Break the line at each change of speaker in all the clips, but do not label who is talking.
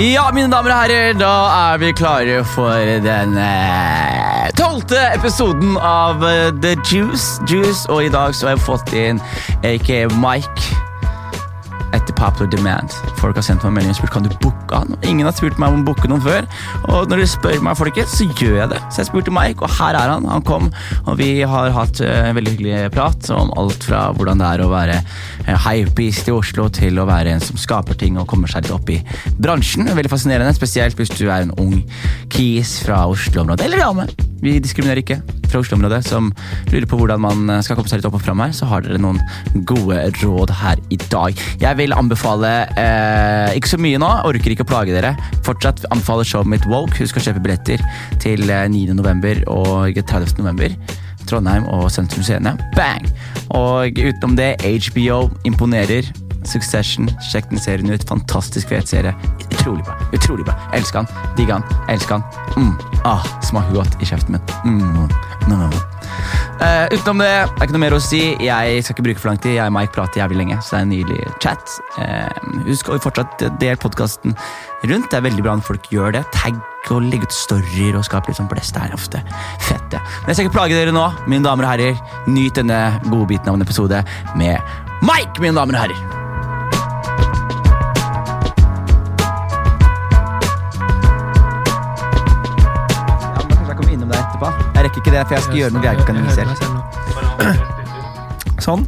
Ja, mine damer og herrer, da er vi klare for den eh, tolvte episoden av eh, The Juice. Juice. Og i dag så har jeg fått inn aka Mike etter Popular Demand. Folk har sendt meg melding og spurt kan du booke han. Og Ingen har spurt meg om å booke noen før. Og når de spør meg, folkens, så gjør jeg det. Så jeg spurte Mike, og her er han. Han kom, og vi har hatt eh, en veldig hyggelig prat om alt fra hvordan det er å være eh, hypebeast i Oslo, til å være en som skaper ting og kommer seg litt opp i bransjen. Veldig fascinerende, spesielt hvis du er en ung kis fra Oslo-området, eller dame. Vi diskriminerer ikke fra Oslo-området som lurer på hvordan man eh, skal komme seg litt opp og fram her, så har dere noen gode råd her i dag. Jeg vil anbefale eh, ikke så mye nå, orker ikke å plage dere. Fortsatt anbefaler showet mitt Woke. Husk å kjøpe billetter til eh, 9. november og 30. november. Trondheim og Sentrum Scene. Bang! Og utenom det, HBO imponerer. Succession, sjekk den serien ut. Fantastisk fet serie. Utrolig bra. utrolig bra Elsker han. Digger han. Elsker han. Mm. Ah, smaker godt i kjeften min. Mm. Mm. Mm. Eh, utenom det, det er ikke noe mer å si. Jeg skal ikke bruke for lang tid. Jeg og Mike prater jævlig lenge, så det er en nydelig chat. Eh, husk å fortsatt del podkasten rundt. Det er veldig bra når folk gjør det. Tagg og legg ut storyer og skap litt sånn blest. Det er ofte fett, det. Men jeg skal ikke plage dere nå, mine damer og herrer. Nyt denne godbiten av en episode med Mike, mine damer og herrer. Ja, men kanskje jeg kommer innom deg etterpå. Jeg rekker ikke det, for jeg skal gjøre noe vi ikke kan gi selv. Sånn.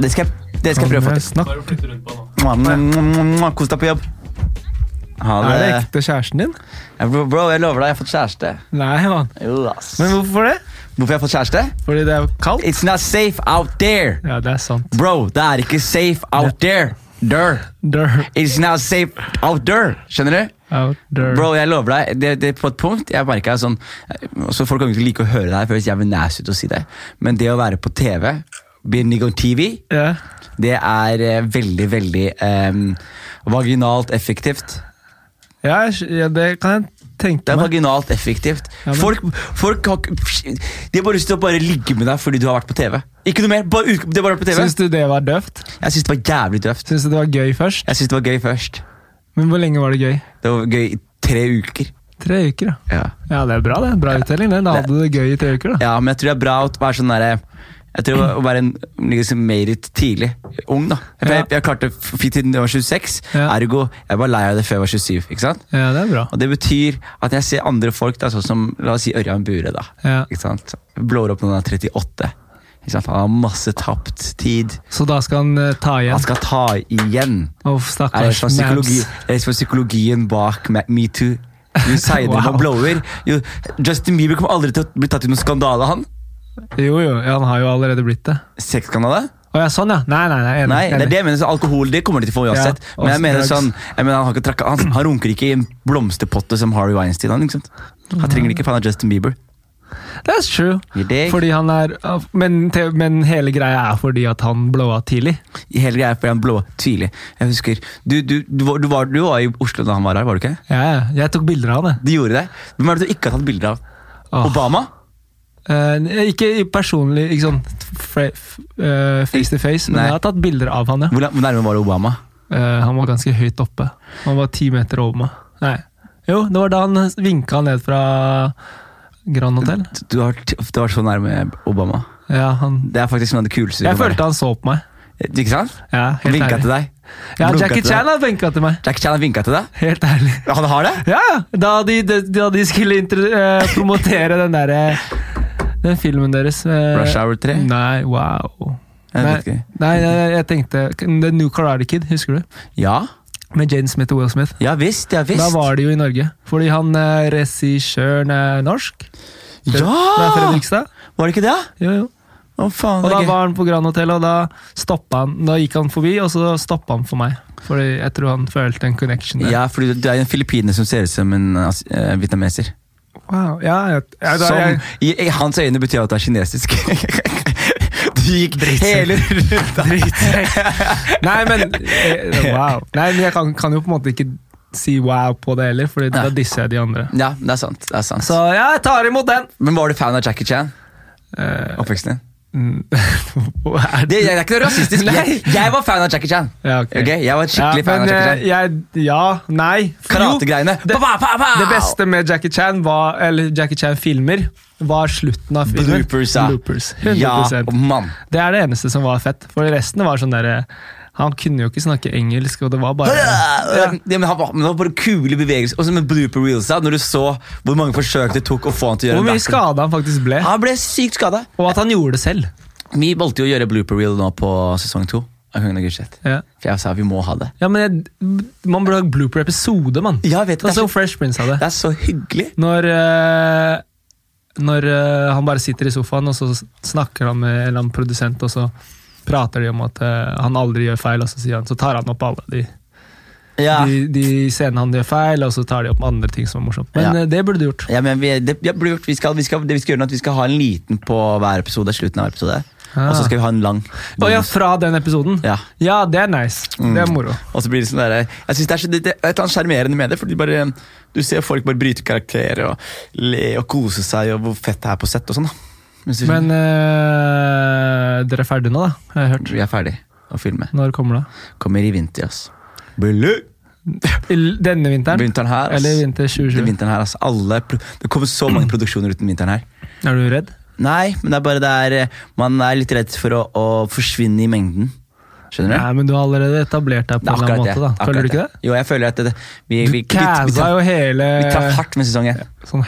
Det skal, jeg- det skal jeg prøve å få til.
Snakk.
Mwah, mwah, mwah, mwah. Kos deg på jobb. Ha
Sånn, Er det
det.
ekte kjæresten din?
Ja, Bro, bro, jeg lover deg, jeg har fått kjæreste.
Nei, mann.
Jo, ass.
Men hvorfor det?
Hvorfor jeg har fått kjæreste?
Fordi det er kaldt?
It's not safe out there.
Ja, det er sant.
Bro, det er ikke safe out there. Der.
Durr.
It's not safe out there. Skjønner du?
Out there.
Bro, jeg lover deg, det, det er på et punkt jeg merket sånn, så Folk kommer ikke til å like å høre det her, for jeg jævlig næs ut å si det, men det å være på TV, being on TV,
Ja.
det er eh, veldig, veldig em, vaginalt effektivt.
Ja, jeg skj- ja, det kan jeg
Det
tenke
er
meg.
vaginalt effektivt.
Ja, men-
Folk, folk har ikke De har bare lyst til å bare ligge med deg fordi du har vært på TV. Ikke noe mer! Bare, ut- det har bare vært på TV.
Syns du det var døvt?
Jeg syns det var jævlig døvt.
Syns du det var gøy først?
Jeg syns det var gøy først.
Men hvor lenge var det gøy?
Det var gøy i tre uker.
Tre uker, da.
Ja,
Ja, det er bra, det. Bra uttelling. det. Da hadde du det gøy i tre uker, da.
ja men jeg tror det er bra å være sånn derre jeg tror å være en liksom, merit tidlig. Ung, da. Jeg, jeg, jeg klarte det f- fint siden jeg var 26,
Ja.
ergo jeg var lei av det før jeg var 27. ikke sant?
Ja, det er bra.
Og det betyr at jeg ser andre folk, da, sånn som la oss si Ørjan Bure. da.
Ja.
Ikke sant? Blår opp når han er 38. Ikke sant? Han har masse tapt tid.
Så da skal han eh, ta
Han
igjen.
skal ta igjen.
Uff,
Jeg
stakkars
er psykologi,
Mabs.
jeg er psykologien bak Me- metoo. Jo seinere
Wow.
man blower jo, Justin Bieber kommer aldri til å bli tatt i noen skandale, han.
Jo, jo. Ja, han har jo allerede blitt det.
Sexskandale?
Å ja, sånn, ja. Nei, nei, nei. Enig.
Nei, det er
enig.
det jeg mener. Så alkohol det kommer de til å få uansett.
Ja, og
Men jeg mener
drugs.
sånn jeg mener, han, har ikke trakka, han, han runker ikke i en blomsterpotte som Harry Weinstein. Han, ikke sant? han trenger det ikke, for han er Justin Bieber.
That's true.
Gir deg.
Fordi han er men, te- men hele greia er fordi at han blåa tidlig.
Hele greia er fordi han blå tidlig. Jeg husker, du, du, du, var, du, var, du var i Oslo da han var her, var du ikke?
Ja, ja. jeg tok bilder av det.
Du gjorde det. Hvem er det du ikke har tatt bilder av?
Åh.
Obama?
Eh, ikke i personlig ikke sånn fra- f- eh, face to face, men
Nei.
jeg har tatt bilder av han, ja.
Hvor la- hvor nærme var det Obama?
Eh, han var ganske høyt oppe. Han var ti meter over meg. Nei. Jo, det var da han vinka ned fra Grand Hotel.
Du har, t- du har vært så nærme Obama.
Ja, han
Det er faktisk noe av det kuleste. du
Jeg
kan
følte han så på meg.
være. Ikke sant?
Ja,
Han
helt
vinka til
ærlig.
deg.
Ja,
Blunka
Jackie
til deg.
Chan har vinka til meg.
Jackie Chan har vinka til deg.
Helt ærlig.
Han har det?
Ja, ja. Da de, de, da de skulle intro- eh, promotere den derre Den filmen deres eh,
Rush Hour 3?
Nei, wow.
Jeg
Nei,
vet ikke.
nei, nei, jeg tenkte The New Karate Kid, husker du?
Ja,
Med Jane Smith og Will Smith.
ja visst. Ja visst.
Da var de jo i Norge. Fordi han eh, regissøren er norsk. Fra
ja!
Fredrikstad.
Var det ikke det?
Jo, jo.
Ah! Å, faen.
Og da
det er
var han på Grand Hotel, og da, stoppet han, da gikk han forbi, og så stoppa han for meg. Fordi jeg tror han følte en connection
gøy.
der.
ja, fordi du er en filippiner som ser ut som en as- eh, vietnameser.
Wow, ja, jeg, jeg, da,
som
jeg,
i, i hans øyne betyr at du er kinesisk. du gikk hele rundt der.
Nei, men eh, Wow. Nei, men jeg kan, kan jo på en måte ikke si wow på det heller, Fordi da
Nei.
disser jeg de andre.
Ja, det er sant. det er sant
Så ja, jeg tar imot den!
Men var du fan av Jackie Chan?
Eh,
Oppveksten din?
Mm, er
Det, det er ikke noe rasistisk. Jeg,
Nei.
jeg var fan av Jackie Chan.
Ja, ok.
Ok, Jeg var
Ja,
skikkelig fan av
men, eh,
Jackie Chan.
jeg, ja, nei. For jo,
Karategreiene.
det-
Pa, pa, pa, pa!
Det beste med Jackie Chan var, eller Jackie Chan-filmer var slutten av filmen.
Bloopers, ja.
Bloopers, 100%.
Ja, mann.
Det er det eneste som var fett. For resten var sånn derre Han kunne jo ikke snakke engelsk, og det var bare
Ja, men, han, var- men det var bare kule bevegelser. Og så med blooper reels, da, når du så hvor mange forsøk det tok å få han til å gjøre
Hvor
en
mye
backflip.
skade han faktisk ble.
Han ble sykt skada.
Og at han gjorde det selv.
Vi valgte jo å gjøre blooper reel nå på sesong to. av Kongen av Gulset.
Ja,
For jeg sa vi må ha det.
ja men jeg, Man burde ha blooper-episode, mann.
Ja, jeg vet det. Det
Det er
er
som
så,
Fresh Prince hadde.
det er så hyggelig.
Når, eh, når eh, han bare sitter i sofaen, og så snakker han med en eller annen produsent, og så prater de om at eh, han aldri gjør feil, og så, sier han, så tar han opp alle de,
Ja,
de, de scenene han gjør feil, og så tar de opp andre ting som er morsomt. Men
Ja.
eh, det burde du gjort.
ja men vi, det, ja, blir gjort. Vi skal, vi skal, det vi skal gjøre nå, er at vi skal ha en liten på hver episode. Slutten av hver episode.
Ah.
Og så skal vi Mm. ha en lang.
Å ja, fra den episoden?
Ja.
Ja, det er nice. Det er moro.
Og så blir det sånn der, Jeg synes det er, så, det, det er et eller annet sjarmerende med det. Fordi bare, Du ser folk bare bryte karakterer og le og kose seg, og hvor fett det er på sett og sånn. da. Mens vi-
Men eh, dere er ferdige nå, da? Har jeg hørt.
vi er ferdig å filme.
Når kommer det?
Kommer i vinter, ass. Bille!
I- Denne vinteren?
Vinteren her, ass.
Eller vinter
Det er
2020?
vinteren her, ass. Alle, pro- det kommer så mange produksjoner uten vinteren her.
Er du redd?
Nei, men det er bare det er eh, Man er litt redd for å, å forsvinne i mengden. Skjønner du?
Nei, men du har allerede etablert deg på
Det er
en eller
akkurat
annen
det.
måte, da.
akkurat
Føler du ikke det?
Jo, jeg føler at det, vi, vi,
Du
vi, vi, vi,
kæsa
traff-
jo hele
vi traff hardt med sesongen.
sånn,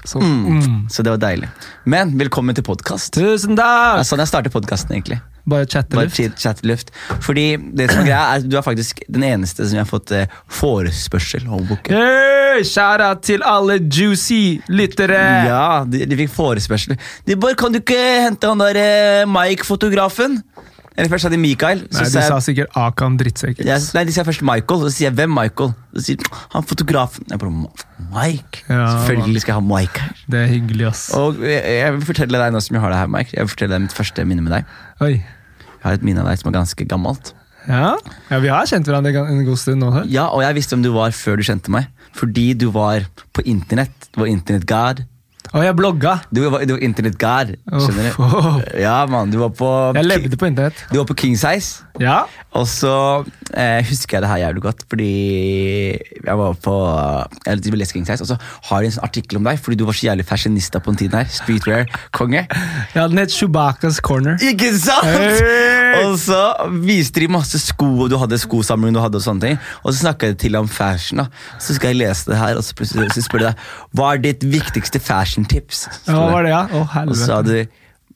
sånn. Mm.
Så det var deilig. Men velkommen til podkast.
Tusen
Det
takk!
er sånn jeg starter podkasten, egentlig.
Bare chatte
Bare
litt.
chit- chat luft. Fordi det som er greia, er at du er faktisk den eneste som jeg har fått eh, forespørsel om å booke.
Hey, Skjæra til alle juicy lyttere!
Ja, de, de fikk forespørsel. De bare, kan du ikke hente han der eh, Mike-fotografen? Eller først sa de Mikael. Så
Nei, du
sa jeg,
sa sikkert Akan drittsekker.
jeg, nei, de sa først Michael, så sier jeg hvem Michael? Så sier de, han fotografen. Jeg bare, Mike?
Ja,
Selvfølgelig skal jeg ha Mike her.
Det er hyggelig, ass.
Og jeg, jeg vil fortelle deg nå som jeg har deg her, Mike. Jeg vil fortelle deg mitt første minne med deg.
Oi.
Jeg har et minne av deg som er ganske gammelt.
Ja. ja, vi har kjent hverandre gan- en god stund nå. Her.
Ja, og jeg visste hvem du var før du kjente meg. Fordi du var på internett. Du var internettgard.
Og jeg blogga!
Du var, du var internettgard,
Uff,
skjønner du?
åh.
Ja, mann. Du var på
Jeg levde på internett.
Du var på King Size.
Ja.
Og så eh, husker jeg det her jævlig godt, fordi jeg var på jeg ville lese King Size, og så har de en sånn artikkel om deg, fordi du var så jævlig fashionista på den tiden her. Streetwear-konge.
Jeg hadde nett Shubakas Corner.
Ikke sant?!
Hey!
Og så viste de masse sko, og du hadde skosamling, du hadde og sånne ting. Og så snakka de til deg om fashion, da. Så skal jeg lese det her, og så plutselig så spør de deg hva er ditt viktigste fashion-tips.
Ja, Hva var det, ja? Å,
Og så sa
helvete.
du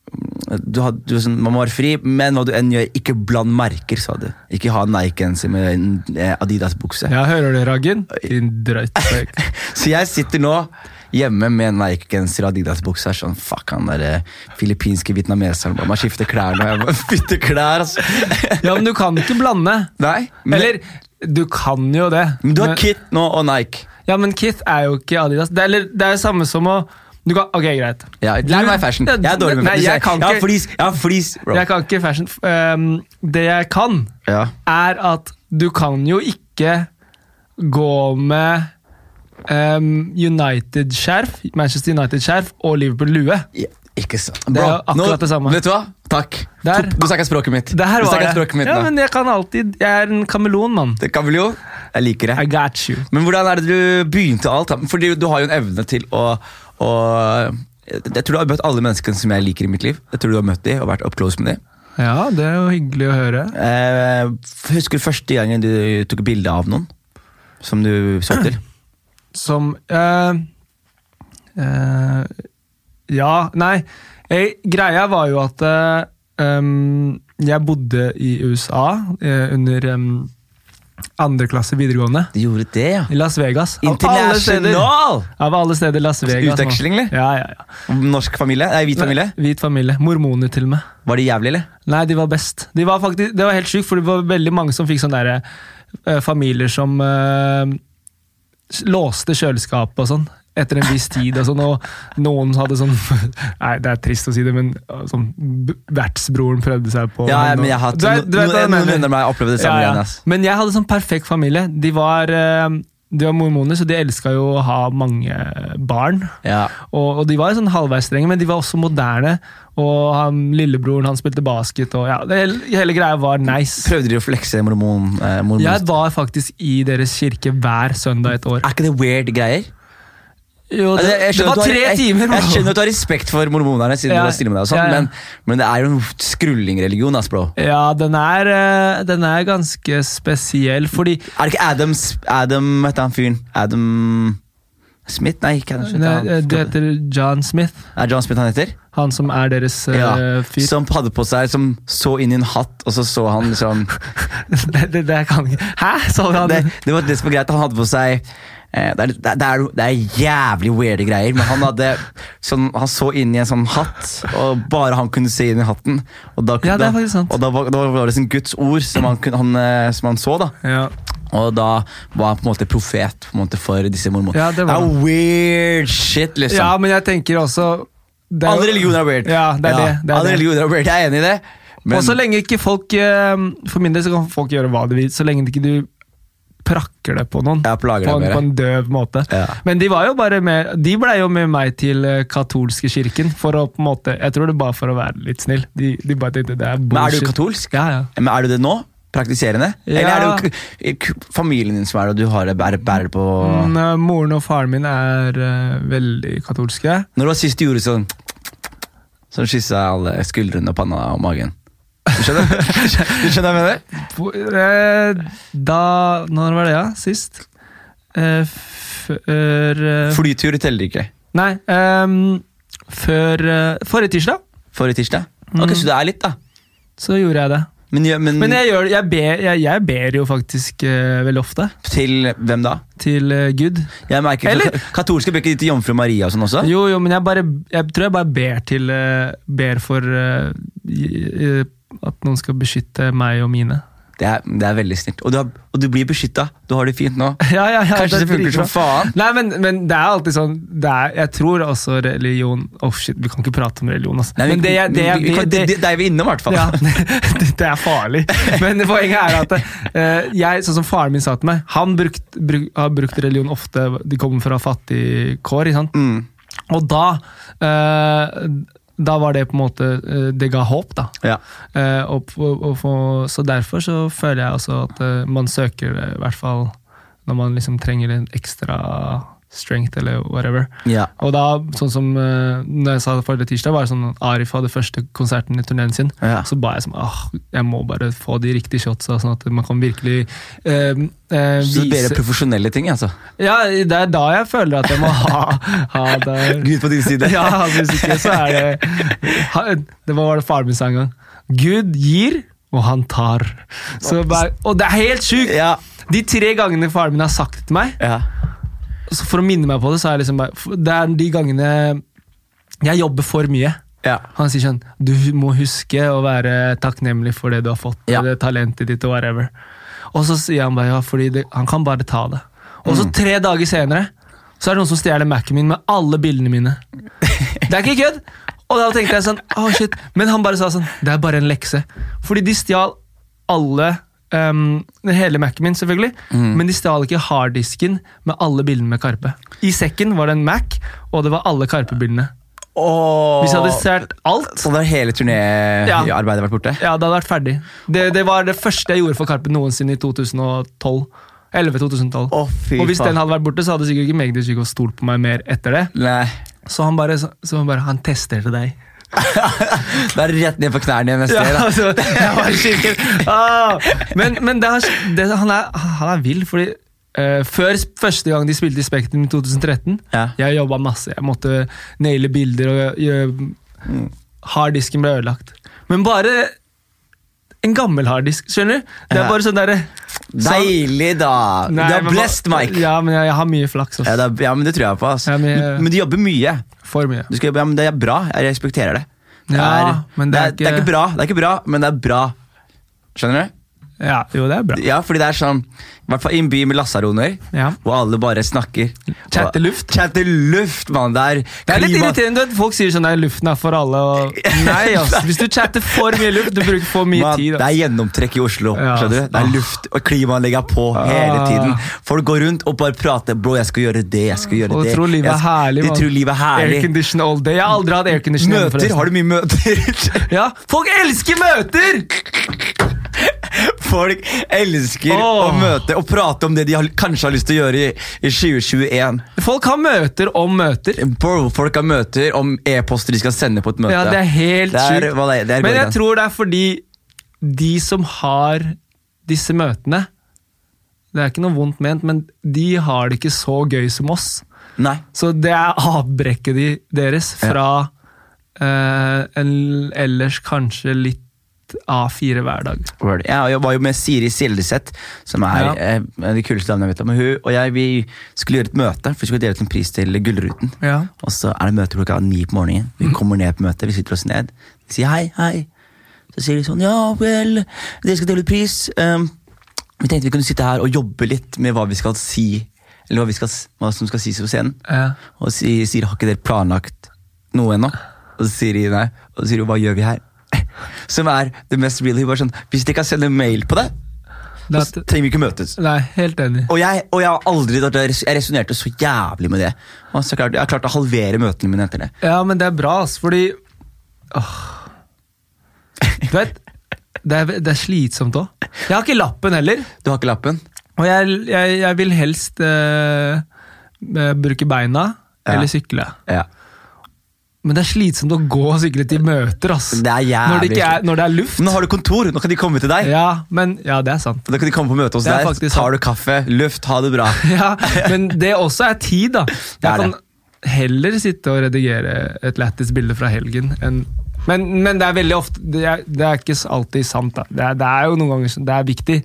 du hadde, du var sånn, Man må være fri, men hva du enn gjør, ikke bland merker, sa du. Ikke ha Nike-genser med en eh, Adidas-bukse.
Ja, hører du, Raggen? Din drøytsekk.
Så jeg sitter nå hjemme med en Nike-genser og Adidas-bukse. er Sånn, fuck, han der eh, filippinske vietnameseren bare, Man skifter klær nå. Jeg må bytte klær, altså.
Ja, men du kan ikke blande.
Nei, men,
Eller, du kan jo det.
men du har Kit nå og Nike.
Ja, men Kith er jo ikke Adidas. Det er, eller, det er jo samme som å du kan, Ok, greit.
Ja, lær meg fashion. Jeg er dårlig med
Nei, jeg kan
Jeg har
ikke-
flis, jeg har flis bro.
Jeg kan ikke fashion. f- ehm, det jeg kan,
Ja.
er at du kan jo ikke gå med ehm, United-skjerf, Manchester United-skjerf og Liverpool-lue.
Ja, Ikke sant.
er jo akkurat det samme.
Vet du hva? Takk.
Der.
Du snakka språket mitt.
Det her
du
var
snakket
det.
språket mitt
Ja,
nå.
men jeg kan alltid. Jeg er en kameleon, mann.
Det kan vel jo. Jeg liker
I
det.
got you.
Men hvordan er det du begynte alt? da? Fordi du har jo en evne til å, å Jeg tror du har møtt alle menneskene som jeg liker i mitt liv. Jeg tror du har møtt de og vært up close med de.
Ja, det er jo hyggelig å høre.
Eh, husker du første gangen du tok bilde av noen? Som du så til?
som eh, eh, Ja, nei. Jeg, greia var jo at eh, em, jeg bodde i USA eh, under em, andre klasse videregående.
Du gjorde det, ja.
I Las Vegas. Av alle steder.
International!
Av alle steder Las Vegas. nå.
Utveksling, eller?
Ja, ja, ja.
Norsk familie? Nei, hvit familie?
Nei, Hvit familie. Mormoner, til og med.
Var det jævlig, eller?
Nei, de var best. De var faktisk, det var helt sjukt, for det var veldig mange som fikk sånne der, eh, familier som eh, s- låste kjøleskapet og sånn. Etter en viss tid og sånn, og noen hadde sånn Nei, det er trist å si det, men eh, sånn b- vertsbroren prøvde seg på
Ja, ja, men jeg har hatt
Du vet- du vet hva jeg
noen
mener.
venner av meg opplevde det samme
Ja, ja.
igjen. ass.
Men jeg hadde sånn perfekt familie. De var eh, De var mormoner, så de elska jo å ha mange barn.
Ja.
Og, og de var sånn halvveis strenge, men de var også moderne. Og han, lillebroren han spilte basket, og ja, det, hele- hele greia var nice.
Prøvde de å flekse mormon... Eh, mormon-
Jeg var faktisk i deres kirke hver søndag et år.
Er ikke det weird greier?
Jo, det,
Altså, jeg skjønner
det var
at du har-
tre
jeg,
timer!
Jeg,
bro.
skjønner at du har respekt for mormonerne, siden
Ja,
du var stille med deg og sånn,
ja, ja.
Men, men det er jo en skrullingreligion, ass, bro.
Ja, den er, eh, den er ganske spesiell, fordi
Er det ikke Adams Adam, hva heter han fyren? Adam Smith? Nei, ikke Adam Smith.
Nei, eh,
han-
Det heter John Smith,
Er John Smith han heter?
han som er deres eh,
Ja,
fyr.
Som hadde på seg, som så inn i en hatt, og så så han liksom
det, det, det kan ikke Hæ?! Sa han
Det, det var det som var greit, han hadde på seg eh, det er, det, er, det er jævlig weirde greier, men han hadde sånn, Han så inn i en sånn hatt, og bare han kunne se inn i hatten. Og da,
Ja, det er
da-
faktisk sant.
Og da var, da var det sin Guds ord som han, kunne- han, eh, som han så, da.
Ja.
Og da var han på en måte profet på en måte, for disse mormonene.
Ja, det var
er weird shit, liksom.
ja, men jeg tenker også det er jo-
Alle religioner er weird.
Ja, det er det. det, er
Alle
det.
religioner er weird, jeg er enig i det.
Og så lenge ikke folk eh, For min del så kan folk gjøre hva de vil, så lenge ikke du prakker det på noen.
Ja, plager
på,
dem
en,
mer.
på en døv måte.
Ja.
Men de var jo bare med De blei jo med meg til eh, katolske kirken for å på en måte Jeg tror det bare for å være litt snill. De, de bare tenkte det er
Men er du
bullshit.
katolsk?
Ja, ja.
Men er du det nå? Praktiserende?
Ja.
Eller er det jo k- k- familien din som er det, og du har det bærer, bærer på
Men, eh, moren og faren min er eh, veldig katolske.
Når det var sist du gjorde sånn Sånn kyssa alle skuldrene og panna og magen. Du skjønner, du skjønner, du skjønner hva jeg mener?
Hvor- eh, Da Når var det, ja? Sist? Eh, Før eh,
Flytur teller ikke.
Nei. ehm, før eh, Forrige tirsdag
Forrige tirsdag? Ok,
Mm.
Så det er litt, da.
så gjorde jeg det.
Men, gjør- men,
Men jeg, gjør, jeg, ber, jeg, jeg ber jo faktisk eh, veldig ofte
til hvem da?
til eh, Gud.
Jeg merker
Eller-
Katolske bøker til Jomfru Maria og sånn også?
Jo, jo, men jeg, bare, jeg tror jeg bare ber til eh, Ber for eh, i- i- at noen skal beskytte meg og mine.
Det er, det er veldig snilt. Og du, har, og du blir beskytta. Du har det fint nå.
Ja, ja, ja,
Kanskje det
er
funker sånn. som
dritbra.
faen.
Nei, men, men det er alltid sånn det er, Jeg tror også religion oh shit, vi kan ikke prate om religion, altså.
Nei, vi-
men det, jeg- det, jeg-
vi- vi kan-
det,
det- det er vi innom, i hvert fall.
ja, det, det er farlig. Men poenget er at eh, jeg, sånn som faren min sa til meg Han brukt, bruk, har brukt religion ofte. De kommer fra fattige kår. ikke sant?
Mm.
Og da eh, Da var det på en måte eh, Det ga håp, da.
Ja.
Eh, og, på- og få- så derfor så føler jeg også at eh, man søker det, i hvert fall når man liksom trenger en ekstra strength eller whatever.
ja.
Og da, sånn som eh, når jeg sa det forrige tirsdag, var det sånn at Arif hadde første konserten i turneen sin.
Ja.
Så ba jeg sånn Åh, jeg må bare få de riktige shotsa, sånn at man kan virkelig eh, eh,
Så det er bedre
vise
profesjonelle ting, altså.
Ja, det er da jeg føler at jeg må ha, ha det
Gud på din side.
ja, hvis ikke så er det ha, Det var det faren min sa en gang. Gud gir, og han tar. Så bare, og det er helt sjukt!
Ja.
De tre gangene faren min har sagt det til meg,
ja.
så for å minne meg på det, så er jeg liksom bare Det er de gangene jeg jobber for mye.
ja.
Han sier sånn Du må huske å være takknemlig for det du har fått,
Ja.
eller talentet ditt og whatever. Og så sier han bare ja, fordi det, han kan bare ta det. Og
Mm.
så tre dager senere så er det noen som stjeler Mac-en min med alle bildene mine. Det er ikke kødd! Og da tenkte jeg sånn Åh shit. Men han bare sa sånn Det er bare en lekse. Fordi de stjal alle ehm, Hele Mac-en min, selvfølgelig.
Mm.
Men de stjal ikke harddisken med alle bildene med Karpe. I sekken var det en Mac, og det var alle Karpe-bildene.
Åh.
Hvis jeg hadde stjålet alt
Så da har hele
Ja.
turnéarbeidet vært borte?
ja, det hadde vært ferdig. Det, det var det første jeg gjorde for Karpe noensinne i 2012. 11-2012.
Å, fy
og hvis
faen.
den hadde vært borte, så hadde sikkert ikke Magdi Chico stolt på meg mer etter det.
Nei.
Så han bare, så, så han, bare han testerte deg.
Da er det rett ned på knærne neste
Ja,
år. da.
altså, jeg var skikkelig ah. Men, men det er, det, han, er, han er vill, fordi eh, før s- første gang de spilte i Spektrum i 2013,
Ja.
jeg jobba masse. Jeg måtte naile bilder, og gjø-
Mm.
harddisken ble ødelagt. Men bare en gammel harddisk, skjønner du? Det er
Ja.
bare sånn derre
Deilig, da!
Nei,
du har
men hva-
blessed, Mike.
Ja, men jeg, jeg har mye flaks.
Ja,
Også.
det er, ja, men Det tror jeg på. Altså.
Ja, men jeg-
men, men du jobber mye.
For mye.
Du skal jobbe, ja, men det er bra. Jeg respekterer det. Det
Ja,
er,
men det er
det, er, det, er
ikke-
ikke bra, det er ikke bra, men det er bra. Skjønner du?
Ja, jo, det er bra.
Ja, fordi det er sånn I hvert fall i en by med lasaroner,
Ja.
hvor alle bare snakker.
Chatter luft.
Chatter luft, mann! Det er,
Det er litt
klima-
irriterende at folk sier sånn at luften er for alle. Og... Nei, ass. Hvis du chatter for mye luft, du bruker for mye
Man,
tid. altså.
det er
Ass.
gjennomtrekk i Oslo.
Ja,
skjønner du? Det er
ass.
luft, og klimaanlegget er på hele
Ah.
tiden. Folk går rundt og bare prater. 'Bro, jeg skal gjøre det, jeg skal gjøre
Og
det'.
tror livet
jeg
er herlig,
de
mann.
tror livet er herlig.
Aircondition all day. Jeg har aldri hatt aircondition. hjemme,
Møter?
forresten.
Har du mye møter?
Ja, Folk elsker møter!
Folk elsker å
Åh.
møte og prate om det de har, kanskje har lyst til å gjøre i, i 2021.
Folk har møter om møter.
Bro, folk har møter om e-poster de skal sende på et møte.
Ja, Det er helt
Det er-
sjukt.
hva det er- det er
Men
Gorgon.
jeg tror det er fordi de som har disse møtene Det er ikke noe vondt ment, men de har det ikke så gøy som oss.
Nei.
Så det er avbrekket de, deres fra eh, en ellers kanskje litt A4-hverdag.
Word. Jeg jobba jo med Siri Sildeseth, som er
Ja.
eh, en av de kuleste damene jeg vet om. Og Hun og jeg vi skulle gjøre et møte, for vi skulle dele ut en pris til Gullruten.
Ja. Mm.
Og så er det møte klokka ni på morgenen. Vi kommer ned på møtet, vi sitter oss ned. De sier hei, hei. Så sier de sånn ja vel, dere skal dele ut pris. ehm, vi tenkte vi kunne sitte her og jobbe litt med hva vi skal si, eller hva, vi skal, s- hva som skal sies på scenen.
Ja.
Og si, sier har ikke dere planlagt noe ennå? Og så sier de nei. Og så sier de hva gjør vi her? Som er det mest real. Hun var sånn Hvis dere kan sende mail på det,
Det
så
er, at-
trenger vi ikke møtes.
nei, helt enig.
Og jeg, og jeg har aldri Jeg resonnerte så jævlig med det. Og så klart, Jeg har klart å halvere møtene mine etter det.
Ja, men det er bra, ass, fordi Åh. Du vet, det er, det er slitsomt òg. Jeg har ikke lappen heller,
Du har ikke lappen?
og jeg, jeg, jeg vil helst eh, eh, bruke beina
Ja.
eller sykle.
Ja.
Men det er slitsomt å gå og sykle til møter, ass.
Det er jævlig
når, det ikke er, når det er luft.
Nå har du kontor, nå kan de komme til deg.
Ja, men, ja, det er sant.
Da kan de komme på møte hos
Det er
deg.
faktisk
Tar du kaffe, luft, ha det bra.
Ja, men det også er tid, da.
er
Jeg kan heller sitte og redigere et lættis bilde fra helgen enn men, men det er veldig ofte Det er, det er ikke alltid sant, da. Det er, det er jo noen ganger som- Det er viktig,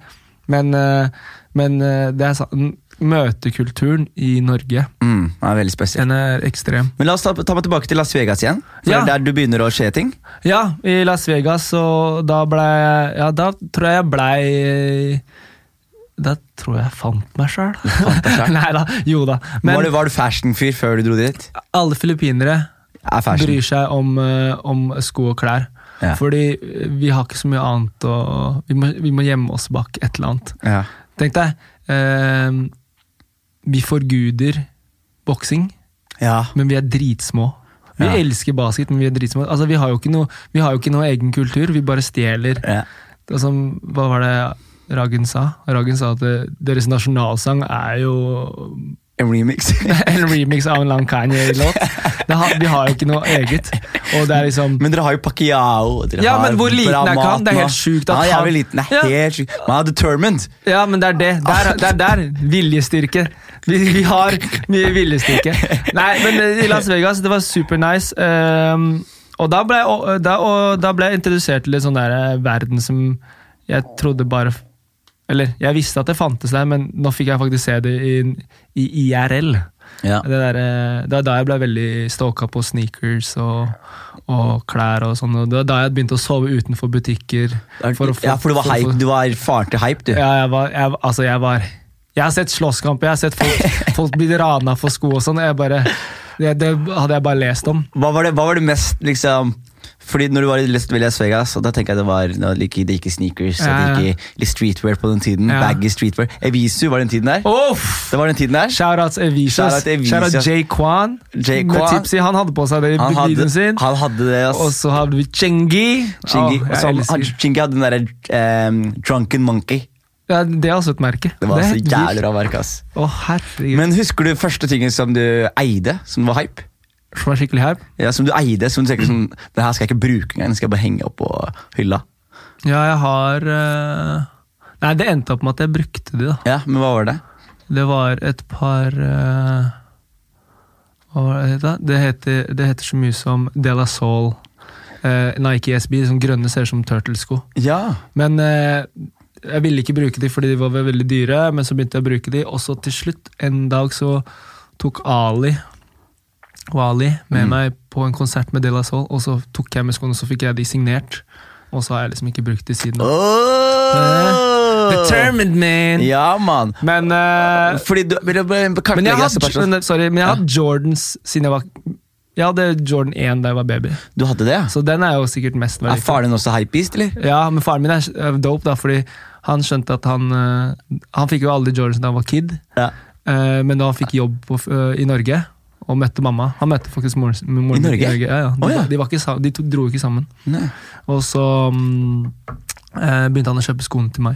men, eh, men eh, det er sant. Møtekulturen i Norge,
Mm, det er veldig spesielt.
den er ekstrem.
Men La oss ta, ta meg tilbake til Las Vegas igjen. For Det
Ja.
er der du begynner å skje ting.
Ja, i Las Vegas, og da ble jeg Ja, da tror jeg jeg blei Da tror jeg jeg fant meg sjøl. Nei da. Jo da. Men
var du, var du fashion-fyr før du dro dit?
alle filippinere
Er fashion.
bryr seg om, eh, om sko og klær.
Ja.
Fordi eh, vi har ikke så mye annet å Vi må, vi må gjemme oss bak et eller annet.
Ja.
Tenk deg, eh, vi forguder boksing,
ja.
men vi er dritsmå. Vi
Ja.
elsker basket, men vi er dritsmå. Altså, vi, har jo ikke noe, vi har jo ikke noe egen kultur, vi bare stjeler. Det er som, hva var det Ragen sa? Ragen sa at eh, deres nasjonalsang er jo
En remix.
en remix av en lang Kanye-låt. Det har- Vi har jo ikke noe eget. Og det er liksom
Men dere har jo Pacquiao. og Dere
Ja,
har
men hvor liten er ikke han? Det er helt sjukt at
han er
han-
jævlig liten. Det er
Ja.
helt sjukt. Man er determined.
Ja, men det er det. Der, det er der. Viljestyrke. Vi, vi har mye viljestyrke. Nei, men eh, i Las Vegas, det var super nice. ehm, og da ble, jeg- og, da, og da ble jeg introdusert til en sånn der eh, verden som jeg trodde bare Eller jeg visste at det fantes der, men nå fikk jeg faktisk se det i, i IRL.
Ja.
Det, der, eh, det er da jeg ble veldig stalka på sneakers og, og klær og sånn. og Det var da jeg begynte å sove utenfor butikker.
For
å få-
ja, for du var,
for å få-
hype. Du var faren til hype, du.
ja, jeg var, jeg, altså jeg var Jeg har sett slåsskamp, jeg har sett folk, folk bli rana for sko og sånn. og Jeg bare, det, det hadde jeg bare lest om.
Hva, var det, hva var det mest liksom fordi når du var i Las Las Vegas, og da tenker jeg det var da gikk- det gikk i sneakers og
Ja,
det
ja.
gikk i litt streetwear på den tiden.
Ja.
Baggy streetwear. Evisu var den tiden der.
Uff!
Det var den tiden der.
Shoutouts Evishas.
Shout out Evishas.
Shoutout Jay Kwan.
Jay
Med
Kwan.
Tipsy. Han hadde på seg det i
Han hadde,
videoen sin.
han hadde det, ass.
Og så hadde vi Chengi.
Chingy,
Åh,
og
jeg
så han-
elsker.
han- Chingy hadde den derre Drunken Monkey.
ja, det er også et merke.
Det var
er
så
helt
jævlig
vilt.
bra verk, ass.
Å, herregud.
Men husker du første tingen som du eide, som var hype?
Som er skikkelig hype.
Ja, som du eide, som du tenkte sånn Det her skal jeg ikke bruke engang, den skal jeg bare henge opp på hylla.
Ja, jeg har eh, Nei, det endte opp med at jeg brukte de, da.
Ja, men hva var det?
Det var et par eh, Hva var det det het da? det heter? Det heter så mye som De La Soul. eh, Nike SB, sånn grønne ser ut som turtlesko.
Ja.
Men eh, jeg ville ikke bruke de fordi de var ve- veldig dyre, men så begynte jeg å bruke de, og så til slutt, en dag, så tok Ali Wali med
Mm.
meg på en konsert med De La Soul, og så tok jeg med skoene, og så fikk jeg de signert. Og så har jeg liksom ikke brukt de siden. da.
Oh!
Determined man!
Ja, mann.
Men, eh,
Fordi du vil du bare
men jeg
kartlegge oss
hadde,
personlig?
men, sorry, men jeg hadde Jordans siden jeg var Jeg hadde Jordan 1 da jeg var baby,
Du hadde det? ja?
så den er jo sikkert mest
Er
verdifull.
faren din også hypebeast, eller?
Ja, men faren min er eh, dope, da, fordi han skjønte at han eh, Han fikk jo alle de Jordans da han var kid.
Ja.
Eh, men da han fikk jobb på, eh, i Norge og møtte mamma Han møtte faktisk moren, sin- moren
I
min
Norge?
I Norge. Ja, ja. De,
Å, ja.
de, var ikke, sa- de to dro ikke sammen.
Nei.
Og så mm, eh, begynte han å kjøpe skoene til meg.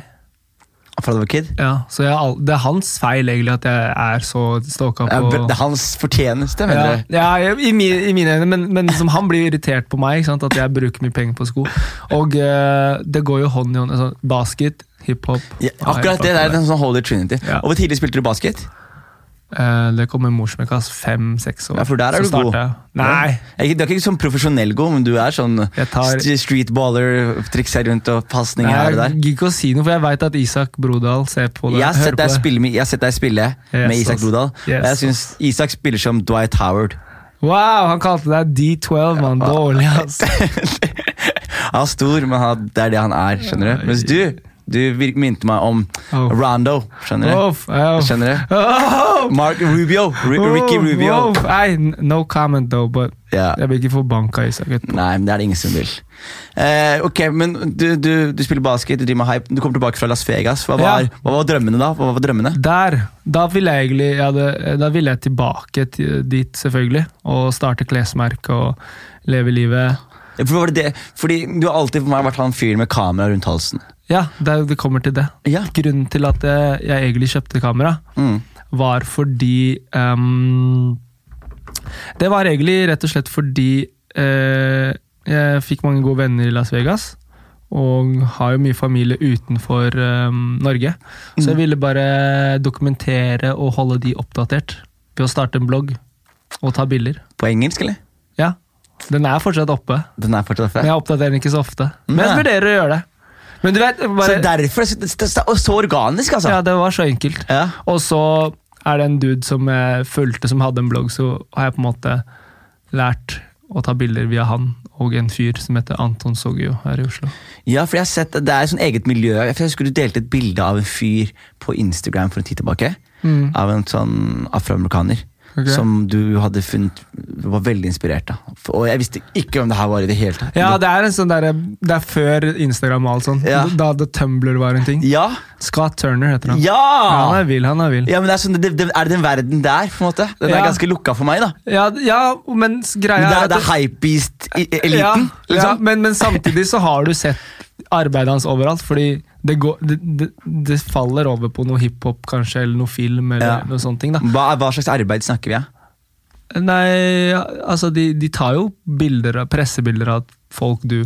Fra du var kid?
Ja, så jeg, har al- det er hans feil egentlig at jeg er så stalka
Ja,
på
br- det er hans fortjeneste,
ja,
mener du?
ja, jeg- i, mi, I mine øyne, men, men liksom, han blir irritert på meg. Ikke sant? At jeg bruker mye penger på sko. Og eh, det går jo hånd i hånd. Altså, basket, hiphop
Ja, akkurat det der er en sånn holy trinity.
Ja.
Og Hvor tidlig spilte du basket?
Eh, det kommer morsmekkas fem-seks år.
Ja, for der er
så
du god.
starter jeg. Nei!
Jeg er ikke- Du er ikke sånn profesjonell god, men du er sånn
Jeg tar-
st- streetballer, trikser rundt og pasninger
Nei,
her
jeg
og der.
gidder ikke å si noe, for jeg veit at Isak Brodal ser på det.
Jeg har
hører
sett
på
deg
det.
spille med, jeg har sett deg spille med
Yes,
Isak
ass.
Brodal, og
Yes,
jeg syns Isak spiller som Dwight Howard.
Wow, han kalte deg D12, mann. Dårlig, ass.
Han er stor, men han, det er det han er, skjønner du. Mens du, du vir- minte meg om
Oh.
Rondo, skjønner du.
Off, off.
Skjønner du?
Off,
Mark Rubio. Ri- Ricky
off,
Rubio.
off. Nei, n- no comment, though, but
Ja.
jeg blir ikke forbanka, Isak. etterpå.
Nei, men det er det ingen som vil. Eh, ok, men du, du, du spiller basket, du driver med hype, du kom tilbake fra Las Vegas. Hva var,
Ja.
hva var drømmene da? Hva var drømmene?
Der, da ville jeg egentlig jeg hadde, Da ville jeg tilbake til, dit, selvfølgelig. Og starte klesmerke og leve livet.
For var det det? Fordi du har alltid for meg vært han fyren med kamera rundt halsen.
Ja, det, det kommer til det.
Ja.
Grunnen til at jeg, jeg egentlig kjøpte kamera,
Mm.
var fordi ehm, Det var egentlig rett og slett fordi eh, jeg fikk mange gode venner i Las Vegas. Og har jo mye familie utenfor ehm, Norge.
Mm.
Så jeg ville bare dokumentere og holde de oppdatert ved å starte en blogg og ta bilder.
På engelsk, eller?
Ja, Den er fortsatt oppe,
Den er fortsatt
men
oppe.
jeg oppdaterer den ikke så ofte. Men jeg
Nei.
vurderer å gjøre det. Men du vet,
Så
bare,
derfor så, så, Og så organisk, altså!
ja, det var så enkelt.
Ja.
Og så er det en dude som jeg fulgte, som hadde en blogg, så har jeg på en måte lært å ta bilder via han og en fyr som heter Anton Soggio her i Oslo.
Ja, for jeg har sett at Det er et sånn eget miljø. Jeg husker du delte et bilde av en fyr på Instagram for en tid tilbake. Av en sånn afroamerikaner.
Ok.
Som du hadde funnet Du var veldig inspirert av. For- Og jeg visste ikke om det her var i det hele tatt.
Ja, det er en sånn derre Det er før Instagram og alt sånt.
Ja.
Da det Tumblr var en ting.
ja!
Scott Turner heter han. Han
Ja!
er vill, han er vill.
ja men det er, sånn, det, det, er det den verden der, på en måte? Den er
Ja.
ganske lukka for meg, da.
Ja, ja men s-
Men
greia
det
er
er,
at
det er hypebeast-eliten.
ja, ja,
E- liksom.
men, men samtidig så har du sett arbeidet hans overalt, fordi det, går, det, det, det faller over på noe hiphop kanskje, eller noe film, eller
Ja.
noe sånne ting. da.
hva, hva slags arbeid snakker vi om?
Nei, altså de, de tar jo bilder av, pressebilder av folk du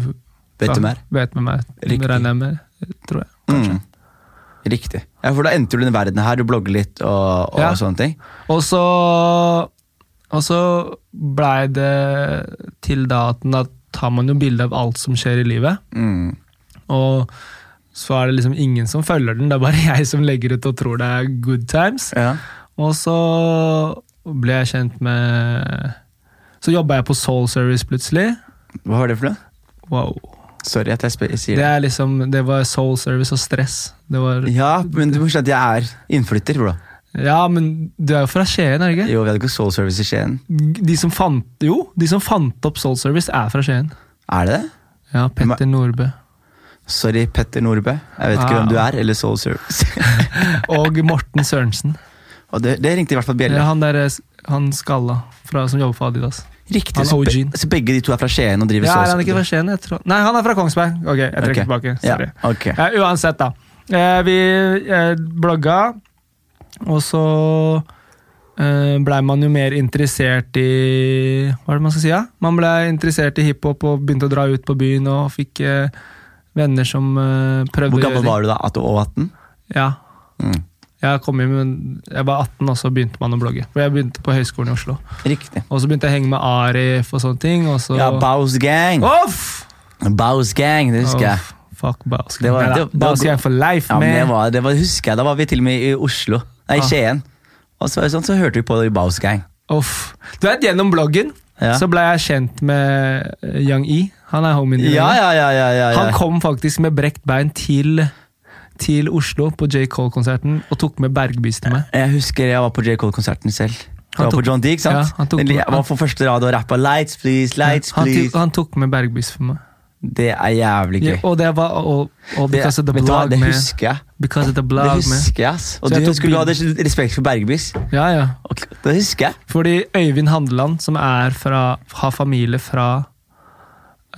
Vet du mer?
Vet med meg,
Riktig.
regner jeg med, tror jeg.
Mm. Riktig. Ja, For da endte du i den verden her. Du blogger litt og, og
Ja.
sånne ting.
Og så, og så blei det til da at da tar man jo bilde av alt som skjer i livet,
Mm.
og så er det liksom ingen som følger den, det er bare jeg som legger ut og tror det er good times.
Ja.
Og så ble jeg kjent med Så jobba jeg på Soul Service plutselig.
Hva var det for noe?
Wow.
Sorry at jeg, spør, jeg sier
Det
det.
er liksom, det var soul service og stress. Det var,
Ja, men du må skjønne at jeg er innflytter, bro.
ja, men du er jo fra Skien, er du ikke?
Jo, vi hadde ikke soul service i Skien.
De som fant, jo, de som fant opp soul service, er fra Skien.
Er det det?
Ja, Petter Nordbø.
Sorry, Petter Nordbø. Jeg vet ikke
Ah.
hvem du er, eller soul service.
Og Morten Sørensen.
og det, det ringte i hvert fall
Ja,
bjella.
han der, han skalla fra, som jobber for Adidas.
Riktig,
han
så, be-
OG-en.
så begge de to er fra Skien og driver
Ja, er
soul
han ikke fra
service?
Skien? Jeg tror. Nei, han er fra Kongsberg. Ok, jeg trekker
Ok.
tilbake. Sorry.
Ja, ok.
Ja, uansett, da. Eh, vi eh, blogga, og så eh, blei man jo mer interessert i Hva er det man skal si? Ja? Man blei interessert i hiphop og begynte å dra ut på byen og fikk eh, venner som eh, prøvde
Hvor gammel var du da? At du var 18?
Ja.
Mm.
Jeg, kom inn, men jeg var 18, og så begynte man å blogge. For jeg begynte på Høgskolen i Oslo.
Riktig.
Og så begynte jeg å henge med Arif og sånne ting. Og så
Ja, Bows Gang.
Off!
Bows Gang, det husker jeg.
Åh, fuck Bausk.
Det var-
Nei da,
det- det var
Bausk
god-
er for life,
Ja, men det
man.
var, det var, husker jeg, Da var vi til og med i Oslo. Nei, i
Ah.
Skien. Og så, var det sånn, så hørte vi på det i Bows Gang.
Uff. Du vet, gjennom bloggen
Ja.
så ble jeg kjent med eh, Yang E. Han er homien din.
Ja, ja, ja, ja, ja, ja.
Han kom faktisk med brekt bein til til Oslo på J. Cole-konserten og tok med Bergbys til meg.
Jeg husker jeg var på J. Cole-konserten selv. Jeg
Han
var på
tok-
John Deek, sant?
Ja, han tok-
Den li- jeg var på første rad og rappa 'Lights Please', Lights
han, tok,
Please.
han tok med Bergbys for meg.
Det er jævlig gøy.
Ja, og det var og,
Det,
og because of the
vet du hva,
blog,
det
man.
husker jeg.
Because of the
Det
blog, man.
husker jeg, ass. Og
Så jeg
du
tok
skulle ha det- respekt for Bergbys.
Ja, ja.
Ok, Det husker jeg.
Fordi Øyvind Handeland, som er fra, har familie fra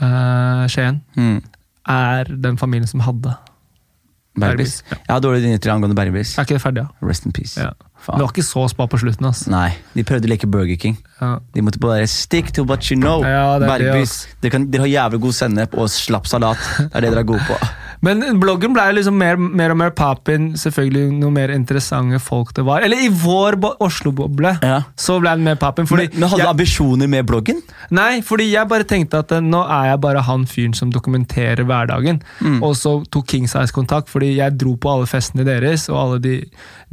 eh, Skien,
Mm.
er den familien som hadde
Bergbys.
Bergbys.
Jeg har dårlige nyheter angående Bergbys.
Er ikke det ferdig, ja?
Rest in peace.
ja. Det
Faen.
var ikke så spa på slutten, ass.
Nei, de prøvde å leke Burger King.
Ja.
De måtte bare stick to what you know.
Ja, det er det,
Bergbys.
ass.
Dere, kan, dere har jævlig god sennep og slapp salat. Det er det dere er gode på.
Men bloggen ble liksom mer, mer og mer papin, selvfølgelig noe mer interessante folk det var. Eller i vår bo- Oslo-boble,
Ja.
så ble den mer papin. Fordi,
men, men hadde du
jeg,
ambisjoner med bloggen?
nei, fordi jeg bare tenkte at eh, nå er jeg bare han fyren som dokumenterer hverdagen.
Mm.
Og så tok King Size kontakt, fordi jeg dro på alle festene deres og alle de,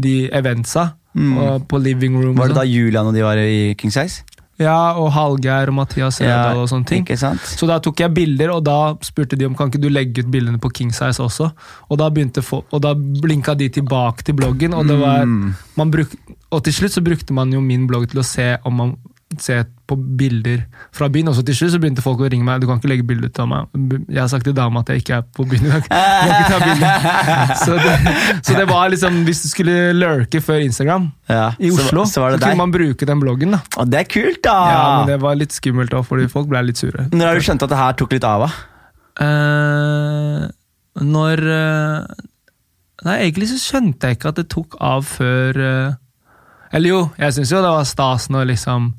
de eventsa. Og på living room
Mm. Var det da
og sånn.
Julian og de var i King Size?
Ja, og Hallgeir og Mathias Rødahl og sånne ting.
Ikke sant?
Så da tok jeg bilder, og da spurte de om kan ikke du legge ut bildene på King Size også. Og da, begynte fo- og da blinka de tilbake til bloggen, og, det
Mm.
var,
Hmm.
man bruk, og til slutt så brukte man jo min blogg til å se om man se på bilder fra byen. Og så til slutt så begynte folk å ringe meg. Du kan ikke legge bilde ut av meg. Jeg har sagt til dama at jeg ikke er på byen i dag. Jeg kan ikke ta bilder. Så det, så det var liksom Hvis du skulle lurke før Instagram
Ja,
i Oslo,
så, så var det
kunne
deg. Ah.
man bruke den bloggen. da.
Å, det er kult, da!
Ja, men det var litt skummelt òg, fordi folk ble litt sure.
Når har du skjønt at det her tok litt av? da?
Eh, når eh, Nei, egentlig så skjønte jeg ikke at det tok av før eh, Eller jo, jeg syns jo det var stas når liksom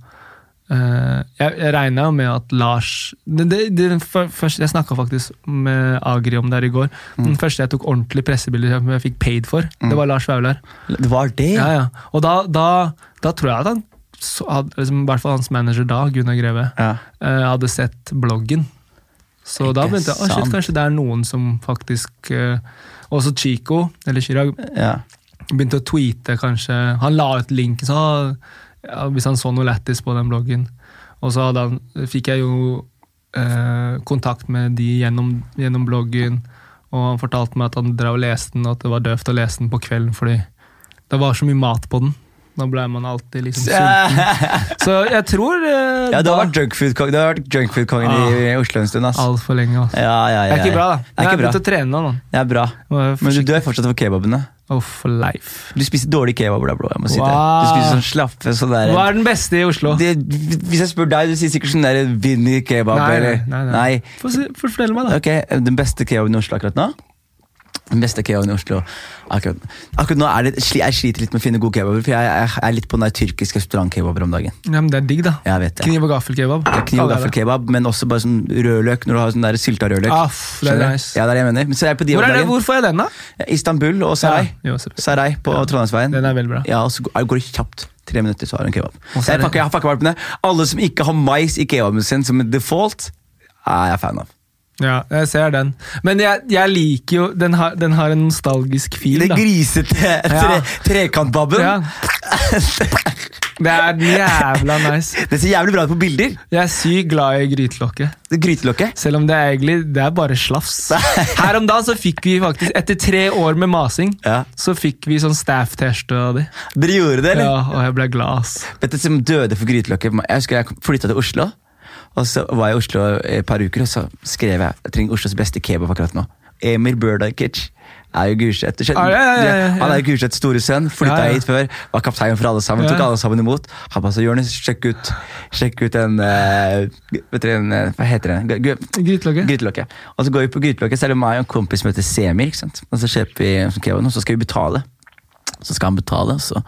eh, Jeg, jeg regna med at Lars det, det, det, for, først, Jeg snakka faktisk med Agri om det her i går. Den første jeg tok ordentlig pressebilder som jeg fikk paid for, det var Lars Vaular.
Det var det?
Ja, ja. Og da, da, da tror jeg at han, så, hadde, liksom, i hvert fall hans manager da, Gunnar Greve,
Ja.
eh, hadde sett bloggen. Så
Ikke
da begynte jeg å
sant.
shit, kanskje det er noen som faktisk eh, Også Chico, eller Chirag,
ja.
begynte å tweete kanskje Han la ut linken, så, ja, hvis han så noe lættis på den bloggen. Og så hadde han, fikk jeg jo eh, kontakt med de gjennom, gjennom bloggen, og han fortalte meg at han drev og leste den, og at det var døvt å lese den på kvelden fordi det var så mye mat på den. Da ble man alltid liksom sulten. Så jeg tror eh,
Ja, du har
da-
vært junkfood-kongen junk i, i Oslo en stund. ass.
Ah. Alt for lenge. Altså.
Ja, ja, ja,
Det er ikke bra, da.
Det er
Jeg har
ikke
begynt
bra.
å trene nå. da.
Det er bra.
Må være
Men du
forsiktig.
dør fortsatt for kebabene.
Oh, for life.
Du spiser dårlig kebab, da, blå. Jeg må si det.
Wow.
Du spiser sånn slappe sånn der
Hva er den beste i Oslo?
det, Hvis jeg spør deg, du sier sikkert sånn der Vinni kebab,
Nei, nei,
eller
nei, nei. Få se- Fortell meg, da.
Ok, Den beste kebaben i Oslo akkurat nå? Den beste kebaben i Oslo akkurat, akkurat nå er det, sli- Jeg sliter litt med å finne gode kebaber, for jeg, jeg, jeg er litt på den der tyrkiske restaurantkebaber om dagen.
Ja, men det er digg, da.
Jeg vet det.
Kniv og gaffelkebab.
Kniv og gaffelkebab, men også bare sånn rødløk når du har sånn der sylta rødløk.
Aff, Ah, det er
Skjønner du?
nice.
Ja, det er det jeg mener. Men så er jeg på de
Hvor,
om
er det,
dagen.
hvor får jeg den, da?
Istanbul og Sarai.
Ja, jo, selvfølgelig.
Sarai på Trondheimsveien.
Den er veldig bra.
Ja, og så går går det kjapt. Tre minutter, så har du en kebab.
Og så
Jeg
er det-
pakker, jeg har pakkevalpene. Alle som ikke har mais i kebaben sin som en default, er jeg fan av.
Ja, jeg ser den. Men jeg, jeg liker jo Den har, den har en nostalgisk fil,
Det
da.
grisete tre,
Ja.
trekantbabben.
Ja. Det er jævla nice.
Det ser jævlig bra ut på bilder.
Jeg er sykt glad i grytelokket.
Det Grytelokket.
Selv om det er egentlig det er bare slafs. Her om dagen så fikk vi faktisk, etter tre år med masing,
Ja.
så fikk vi sånn staff-T-skjorte av de.
Dere gjorde det, eller?
Ja, og jeg ble glad, ass.
Vet du som døde for grytelokket? Jeg husker jeg flytta til Oslo. Og så var jeg i Oslo et par uker, og så skrev jeg jeg trenger Oslos beste kebab akkurat nå. Emil Burdakic er jo Gulset. Du skjønner-
Ah, ja, ja, ja, ja.
Han er jo Gursets store sønn. Flytta
Ja, ja.
hit før. Var kaptein for alle sammen.
Ja.
Tok alle sammen imot. Han bare sa Jonis, sjekk ut Sjekk ut den eh, Vet dere den eh, Hva heter den? Gu- gu-
Grytelokket.
Grytelokket. Og så går vi på grytelokket, så er det meg og en kompis som heter Semir. ikke sant? Og så kjøper vi en sånn kebab, og så skal vi betale. Så skal han betale, og så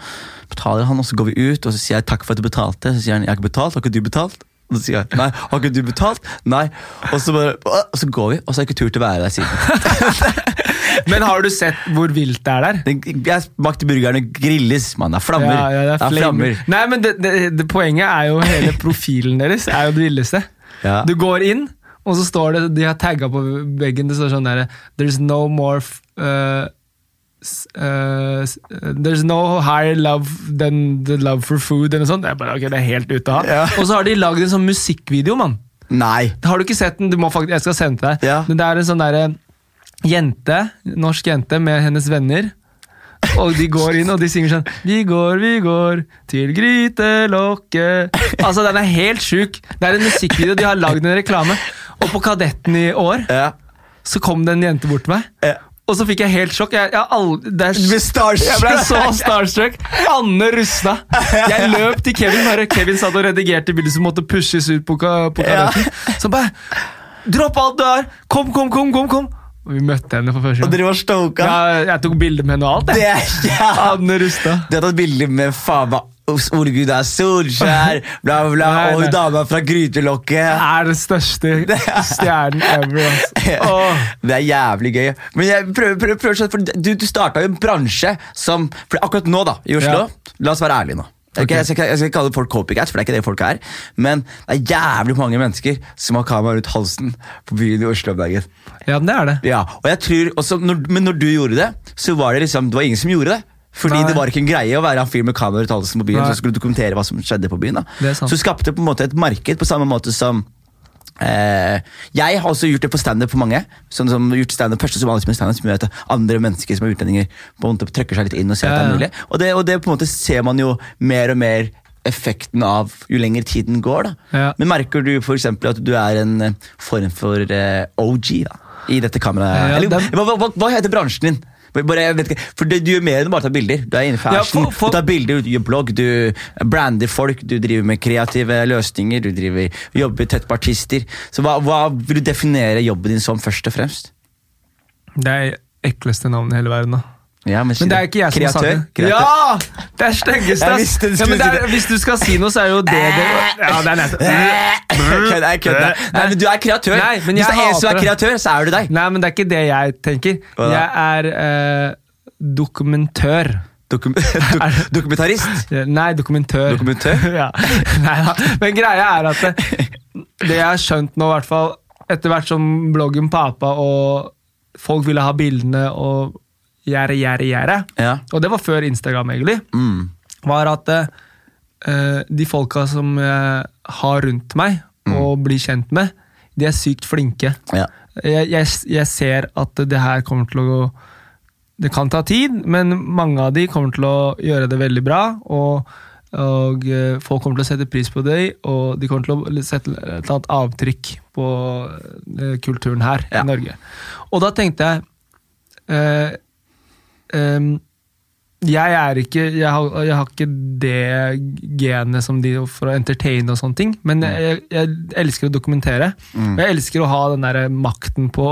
betaler han, og så går vi ut, og så sier jeg takk for at du betalte. Så sier han jeg har ikke betalt, har ikke du betalt? Og så sier jeg nei, har ikke du betalt? Nei. Og så bare, og så går vi, og så har jeg ikke tur til å være der siden.
Men har du sett hvor vilt det er der?
Den- Jeg smakte burgerne grilles, mann. Det er flammer.
Ja, ja, det er flammer.
flammer.
Nei, men det, det, det poenget er jo hele profilen deres er jo det villeste.
Ja.
Du går inn, og så står det De har tagga på veggen. Det står sånn der There's no more f- eh, s- eh, s- eh, There's no higher love than the love for food, eller noe sånt. Jeg bare, ok, det er helt ute av.
Ja.
Og så har de lagd en sånn musikkvideo, mann.
Nei.
Har du ikke sett den? Du må faktisk, jeg skal sende til deg.
Ja.
Men det er en sånn derre jente, norsk jente med hennes venner. Og de går inn og de synger sånn Vi går, vi går til grytelokket Altså, den er helt sjuk. Det er en musikkvideo. De har lagd en reklame. Og på Kadetten i år
Ja.
så kom det en jente bort til meg.
Ja.
Og så fikk jeg helt sjokk. Jeg, jeg, har aldri- det er
Du ble starstruck.
jeg ble så starstruck. Anne Rustad. Jeg løp til Kevin. Bare Kevin satt og redigerte bildet som måtte pushes ut på, ka- på
Ja.
kadetten. Så bare Dropp alt du har! Kom, kom, kom! kom, kom. Og vi møtte henne for første
Og
gang.
dere var stoka?
Jeg, jeg tok bilde med henne og alt.
Det
Jeg.
er ja.
Anne Rustad.
Du har tatt bilder med faen meg Os- Ole Gunnar Solskjær, bla, bla, bla,
Nei,
og
nei.
hun dama fra Grytelokket.
Er den største stjernen ever. Altså. Åh.
Det er jævlig gøy. Men jeg prøver, prøver, prøver sånn, for du, du starta jo en bransje som for Akkurat nå, da, i Oslo
Ja.
La oss være ærlige nå. Ok,
Ok.
Jeg, skal, ikke- jeg skal ikke kalle folk copycats, for det er ikke det folk er. Men det er jævlig mange mennesker som har kamera rundt halsen på byen i Oslo om dagen.
Ja, men det er det.
Ja, og jeg tror også, når, Men når du gjorde det, så var det liksom, det var ingen som gjorde det. Fordi
Nei.
det var ikke en greie å være en fyr med kamera rundt halsen på byen
Nei.
som skulle dokumentere hva som skjedde på byen. da.
Det er sant.
Så du skapte på en måte et marked på samme måte som eh, Jeg har også gjort det på standup for mange. Sånn som gjort stand-up Første som alle som gjør standup, som gjør at andre mennesker som er utlendinger, på en måte trøkker seg litt inn og ser at det
Ja,
er
ja.
mulig. Og det, og det på en måte ser man jo mer og mer effekten av jo lenger tiden går. da.
Ja.
Men merker du for eksempel at du er en eh, form for eh, OG da, i dette kameraet?
Ja,
Eller,
den-
hva, hva, hva heter bransjen din? Bare, jeg vet ikke, for det, Du gjør mer enn å bare ta bilder. Du er inne i
Ja,
fashion,
for- for-
du tar bilder, du gjør blogg, du brander folk, du driver med kreative løsninger, du driver, jobber tett på artister. Så hva, hva vil du definere jobben din som først og fremst?
Det er ekleste navnet i hele verden. da.
Ja,
Men det er ikke jeg som har sagt det.
kreatør.
Ja! Det er styggeste.
Jeg
ass.
visste du
Ja,
skulle
men det
si
er,
det.
hvis du skal si noe, så er jo det det Ja, det er nesten.
Kødd, jeg kødder. Nei, men du er kreatør.
Nei, men
Hvis
jeg
det er en som er
hater det.
kreatør, så er du deg.
Nei, men det er ikke det jeg tenker.
Hva da?
Jeg er eh, dokumentør.
Dokum dok dokumentarist.
Nei, dokumentør.
Dokumentør?
ja. Nei da. Men greia er at det, det jeg har skjønt nå, i hvert fall etter hvert som bloggen papa og folk ville ha bildene og gjerde, gjerde, gjerde,
Ja.
og det var før Instagram, egentlig,
Mm.
var at eh, de folka som jeg har rundt meg
Mm.
og blir kjent med, de er sykt flinke.
Ja.
jeg, jeg, jeg ser at det her kommer til å gå Det kan ta tid, men mange av de kommer til å gjøre det veldig bra. Og, og eh, folk kommer til å sette pris på det, og de kommer til å sette et eller annet avtrykk på eh, kulturen her
Ja.
i Norge. Og da tenkte jeg eh, em, jeg er ikke jeg har, jeg har ikke det genet som de for å entertaine og sånne ting, men
Mm.
jeg, jeg elsker å dokumentere. Og jeg elsker å ha den der makten på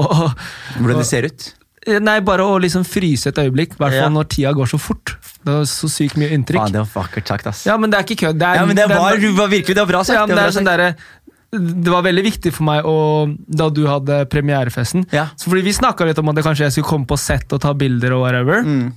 Hvordan det ser ut.
Nei, bare å liksom fryse et øyeblikk, i hvert
Ja.
fall når tida går så fort. Det er så sykt mye
Faen,
inntrykk.
det var vakkert sagt, ass.
Ja, men det er ikke kødd.
Ja, men det var,
det,
det var virkelig det var bra sagt.
ja,
var
men det
bra
er sånn
sagt.
derre det var veldig viktig for meg å, da du hadde premierefesten.
Ja.
Så fordi Vi snakka litt om at det kanskje jeg skulle komme på sett og ta bilder. og whatever
Mm.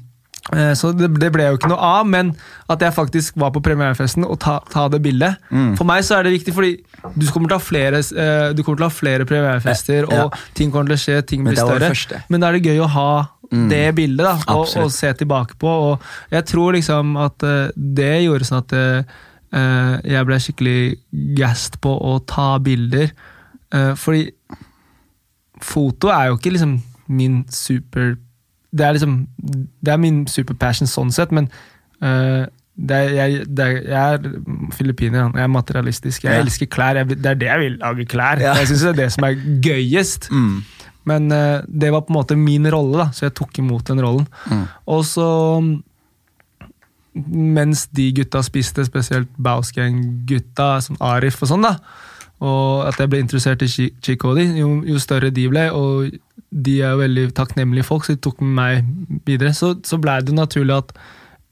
Eh, Så det, det ble jo ikke noe av, men at jeg faktisk var på premierefesten og ta, ta det bildet.
Mm.
For meg så er det viktig, fordi du kommer til å ha flere, eh, du kommer til å ha flere premierefester,
Eh, ja.
og ting kommer til å skje, ting
Men
blir
det var det
større.
første. Mm.
Men da er det gøy å ha det bildet da, og,
Absolutt.
og se tilbake på. Og jeg tror liksom at eh, det gjorde sånn at eh, eh, jeg ble skikkelig gassed på å ta bilder. Eh, fordi foto er jo ikke liksom min super Det er liksom Det er min superpassion sånn sett, men øh, det er, jeg, det er, jeg er filippiner, han. jeg er materialistisk. Jeg
Ja.
elsker klær. Jeg, vil- det er det jeg vil lage klær.
Ja.
Jeg syns det er det som er gøyest.
Mm.
Men øh, det var på en måte min rolle, da, så jeg tok imot den rollen.
Mm.
Og så Mens de gutta spiste, spesielt Bausgang-gutta, som Arif og sånn, da, og at jeg ble interessert i Chi- Chico og de, jo, jo større de ble, og de er jo veldig takknemlige folk, så de tok med meg videre, så, så blei det naturlig at,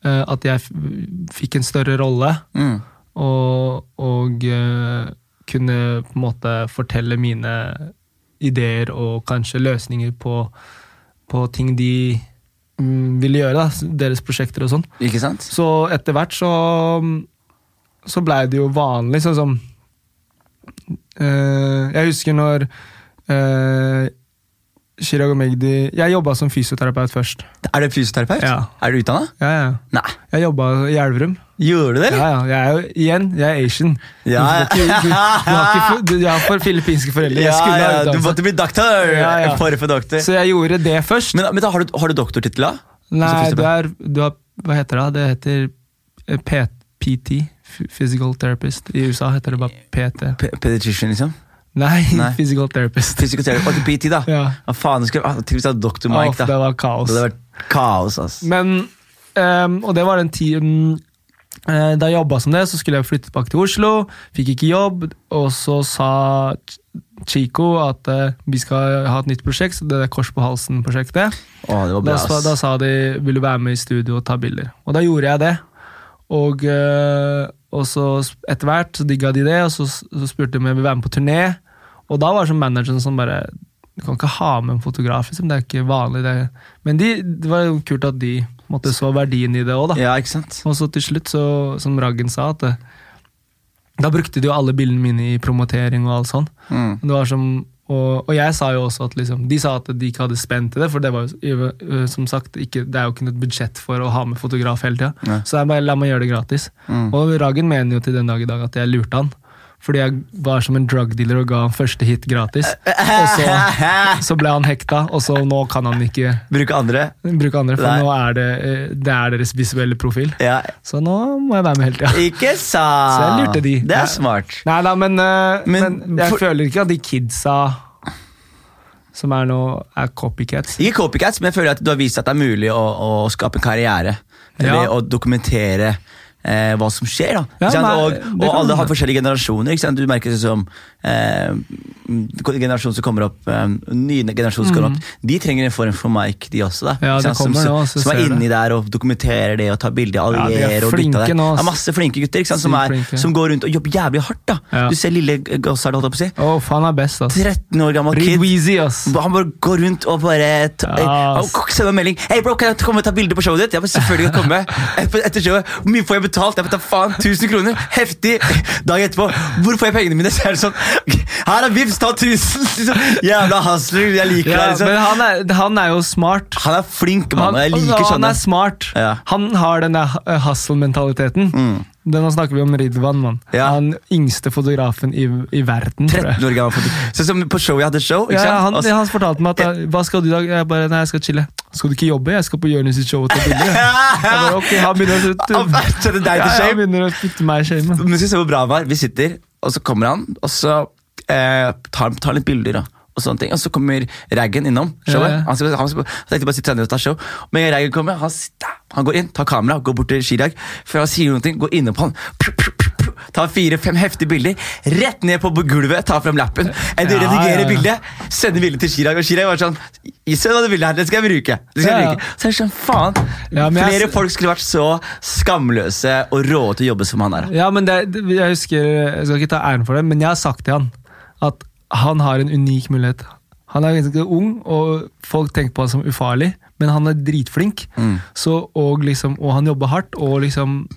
eh, at jeg f- fikk en større rolle
Mm.
og, og eh, kunne på en måte fortelle mine ideer og kanskje løsninger på, på ting de mm, ville gjøre, da, deres prosjekter og sånn.
Ikke sant?
Så etter hvert så, så blei det jo vanlig, sånn som eh, Jeg husker når eh, Chirag og Magdi Jeg jobba som fysioterapeut først.
Er du fysioterapeut?
Ja.
Er du utdanna?
Ja, ja.
Nei.
Jeg jobba i Elverum.
Gjorde du det, eller?
Ja, ja. Jeg er jo, igjen, jeg er asian.
Ja,
Du, får ikke- du, du, har ikke, for- du, jeg har for filippinske foreldre. Jeg skulle ha
ja, Du
utdannelse.
måtte bli doktor!
Ja, ja.
For for doktor.
Så jeg gjorde det først.
Men, men da, har du, har du doktortittel, da?
Nei,
Så
du er, du har, hva heter det? da? Det heter eh, P- PT. Phy- Physical Therapist. I USA heter det bare PT.
Pe- Pediatrician, liksom?
Nei,
Nei.
Physical Therapist.
Fysioterapeut. Og til PT, da.
Ja.
Hva faen, skulle ah, Tenk hvis du hadde doktor Mike,
Uff,
da.
det var kaos.
Det hadde vært kaos, ass.
Men, ehm, og det var den tiden eh, da jeg jobba som det, så skulle jeg flytte tilbake til Oslo. Fikk ikke jobb, og så sa Ch- Chico at eh, vi skal ha et nytt prosjekt, så det er Kors på halsen-prosjektet.
Å, det var
Da,
bra,
sa- da
ass.
sa de vil du være med i studio og ta bilder. Og da gjorde jeg det. Og, eh, og så s- etter hvert så digga de det, og så, s- så spurte de om jeg ville være med på turné. Og da var det sånn manageren som bare Du kan ikke ha med en fotograf, liksom. Det er ikke vanlig. Det. Men de, det var jo kult at de på en måte, så verdien i det òg, da.
Ja, ikke sant?
Og så til slutt, så, som Raggen sa, at eh, da brukte de jo alle bildene mine i promotering og alt sånn.
Mm.
Det var som, og, og jeg sa jo også at liksom, de sa at de ikke hadde spenn til det, for det var jo øh, som sagt ikke, det er jo ikke noe budsjett for å ha med fotograf hele tida.
Nei.
Så jeg bare la meg gjøre det gratis.
Mm.
Og Ragen mener jo til den dag i dag at jeg lurte han. Fordi jeg var som en drug dealer og ga han første hit gratis. Og så, så ble han hekta, og så nå kan han ikke
Bruke andre?
bruke andre, for
Nei.
nå er det, øh, det er deres visuelle profil.
Ja.
Så nå må jeg være med hele tida.
Ikke
Så
sant?
jeg lurte de.
Det
Ja.
er smart.
Nei da, men, eh,
Men
men, jeg
for-
føler ikke at de kidsa som er nå, er copycats.
Ikke copycats, men jeg føler at du har vist at det er mulig å, å skape en karriere.
Ja.
Ved å dokumentere eh, hva som skjer. da.
Ja,
Ikke sant?
nei, det
og, og
kan
alle har
hende.
forskjellige generasjoner. Ikke sant? Du merker det som eh, generasjonen som kommer opp, eh, nye generasjoner som kommer opp, de trenger en form for mic, de også. da.
Mm.
Ikke
Ja, det
sant? som,
kommer nå, så
som, som
ser
er
jeg
inni der og dokumenterer det og tar bilder av
Ja, de er
allierer. og
flinke
dytta der.
nå, ass.
Det er masse flinke gutter ikke sant? Som,
Sykt
er,
flinke.
som går rundt og jobber jævlig hardt. da.
Ja.
Du ser lille Gossard, holdt jeg på å si.
Å, faen er best, ass.
13 år gammel
Read
kid.
Weezy, ass.
Han bare går rundt og bare ta,
Ja,
Han
ass.
sender meg melding. Hey bro, kan jeg komme og ta bilde på showet ditt? Ja, men selvfølgelig kan jeg komme. Et- Etter showet, Hvor mye får jeg betalt? Jeg tar faen 1000 kroner. Heftig. Dagen etterpå, hvor får jeg pengene mine? Så er det sånn Her er Vipps, ta 1000! Liksom, jævla hustler, jeg liker
Ja,
deg. Liksom.
men han er, han er jo smart.
Han er flink, mann.
Han,
og Jeg liker
altså, han
sånne.
er smart.
Ja. Mm.
Han har den der eh, hustle-mentaliteten. Det- Nå snakker vi om Ridwan, mann.
Ja.
Han yngste fotografen i, i verden, tror jeg.
13 år gammel. Sånn som på showet jeg hadde show. Ikke
Ja,
sant? Altså-
han,
Og så-
han fortalte meg at eh, Hva skal du i dag? Jeg bare, nei, jeg skal chille. Skal du ikke jobbe? Jeg skal på Jonis sitt show og ta bilder. jeg." Jeg bare, Ok, han begynner
Han
å
setter deg
Ja,
til
ja,
shame.
han begynner å putte meg i shame.
Men skal vi se hvor bra han var. Vi sitter, og så kommer han, og så eh, tar han tar litt bilder. da og sånne ting, og så kommer Raggen innom showet.
Ja, ja.
Han, skal, han, skal, han tenkte bare å sitte senere og ta show. Men Raggen kommer, han, sitter, han går inn, tar kamera, går bort til Chirag. Før han sier noe, går innom på han. Pju, pju, pju, pju. Tar fire-fem heftige bilder, rett ned på gulvet, tar frem lappen. En
Ja,
redigerer
ja, ja.
bildet, sender bildet til Chirag, og Chirag var sånn «I- Se hva det bildet her, det skal jeg bruke. Det skal
Ja, ja.
jeg bruke. Så jeg er sånn, faen.
Ja, men
Flere
jeg-
folk skulle vært så skamløse og rå til å jobbe som han er.
Ja, men det, det- jeg husker Jeg skal ikke ta æren for det, men jeg har sagt til han at han har en unik mulighet. Han er ganske ung, og folk tenker på han som ufarlig, men han er dritflink.
Mm.
Så, og, liksom, og han jobber hardt, og liksom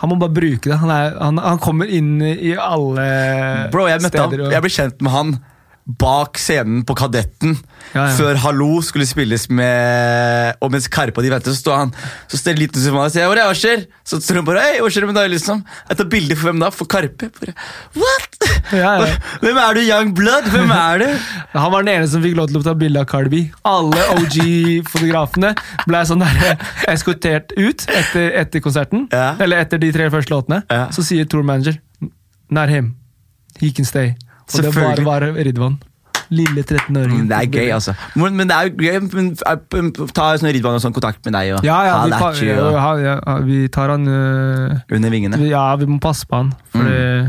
Han må bare bruke det. Han, er, han, han kommer inn i alle
Bro, jeg møtte
steder.
han,
og-
jeg ble kjent med han bak scenen på Kadetten.
Ja, ja.
Før Hallo skulle spilles med Og mens Karpe og de ventet, så står han Så står det en liten som han og sier 'Hvor er Asher?' Så står han bare 'Hei, hva skjer med deg?' liksom Jeg tar bilde for hvem da? For Karpe? Bare, What?!
Ja, ja.
Hvem er du, Young Blood? Hvem er du?
Han var den ene som fikk lov til å ta bilde av Cardi B. Alle OG-fotografene ble sånn der eskortert ut etter, etter konserten.
Ja.
Eller etter de tre første låtene.
Ja.
Så sier tour manager Not him. He can stay. Og det bare
Selvfølgelig.
var Ridwan. Lille 13-åringen.
Men det er gøy, altså. Men, men det er jo gøy men, eh, Ta sånn Ridwan og sånn kontakt med deg og
Ja, ja,
ha
vi,
lært
tar,
you og,
ja, ja, ja, vi tar han øh,
under vingene.
vi- Ja, vi må passe på han. Fordi,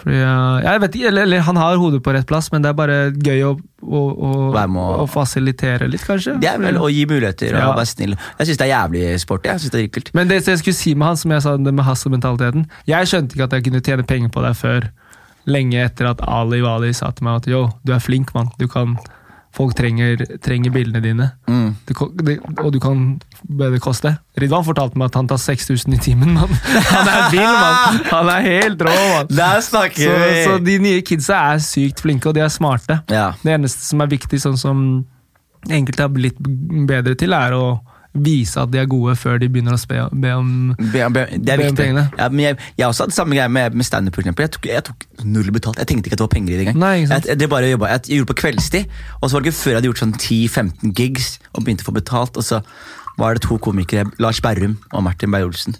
fordi øh, Jeg vet ikke, eller, eller han har hodet på rett plass, men det er bare gøy å, å, å,
Være med og-
å fasilitere litt, kanskje.
Det er vel å gi muligheter og
Ja.
være snill. Jeg syns det er jævlig sporty. Jeg synes det er ekkelt.
Men det jeg skulle si med han, som jeg sa, det med hustle-mentaliteten Jeg skjønte ikke at jeg kunne tjene penger på deg før lenge etter at Ali Wali sa til meg at yo, du er flink, mann. Du kan folk trenger, trenger bildene dine.
Mm.
Det, ko- det, og du kan be det koste. Ridwan fortalte meg at han tar 6000 i timen. mann. Han er vill, mann! Han er helt rå, mann!
Der
Så,
snakker
så
vi!
de nye kidsa er sykt flinke, og de er smarte.
Ja.
Det eneste som er viktig, sånn som enkelte har blitt bedre til, er å vise at de er gode før de begynner å spe, be om
Be, be, det er
Be om
viktig.
pengene.
Ja, men jeg, jeg også hadde samme greie med, med standup. for eksempel. Jeg, tok- jeg tok null betalt. Jeg tenkte ikke at det var penger i det engang.
Nei, ikke sant?
Jeg, jeg, bare jobbet, jeg gjorde det på kveldstid, og så var det ikke før jeg hadde gjort sånn 10-15 gigs og begynte å få betalt. Og så var det to komikere, Lars Berrum og Martin Beyer-Olsen,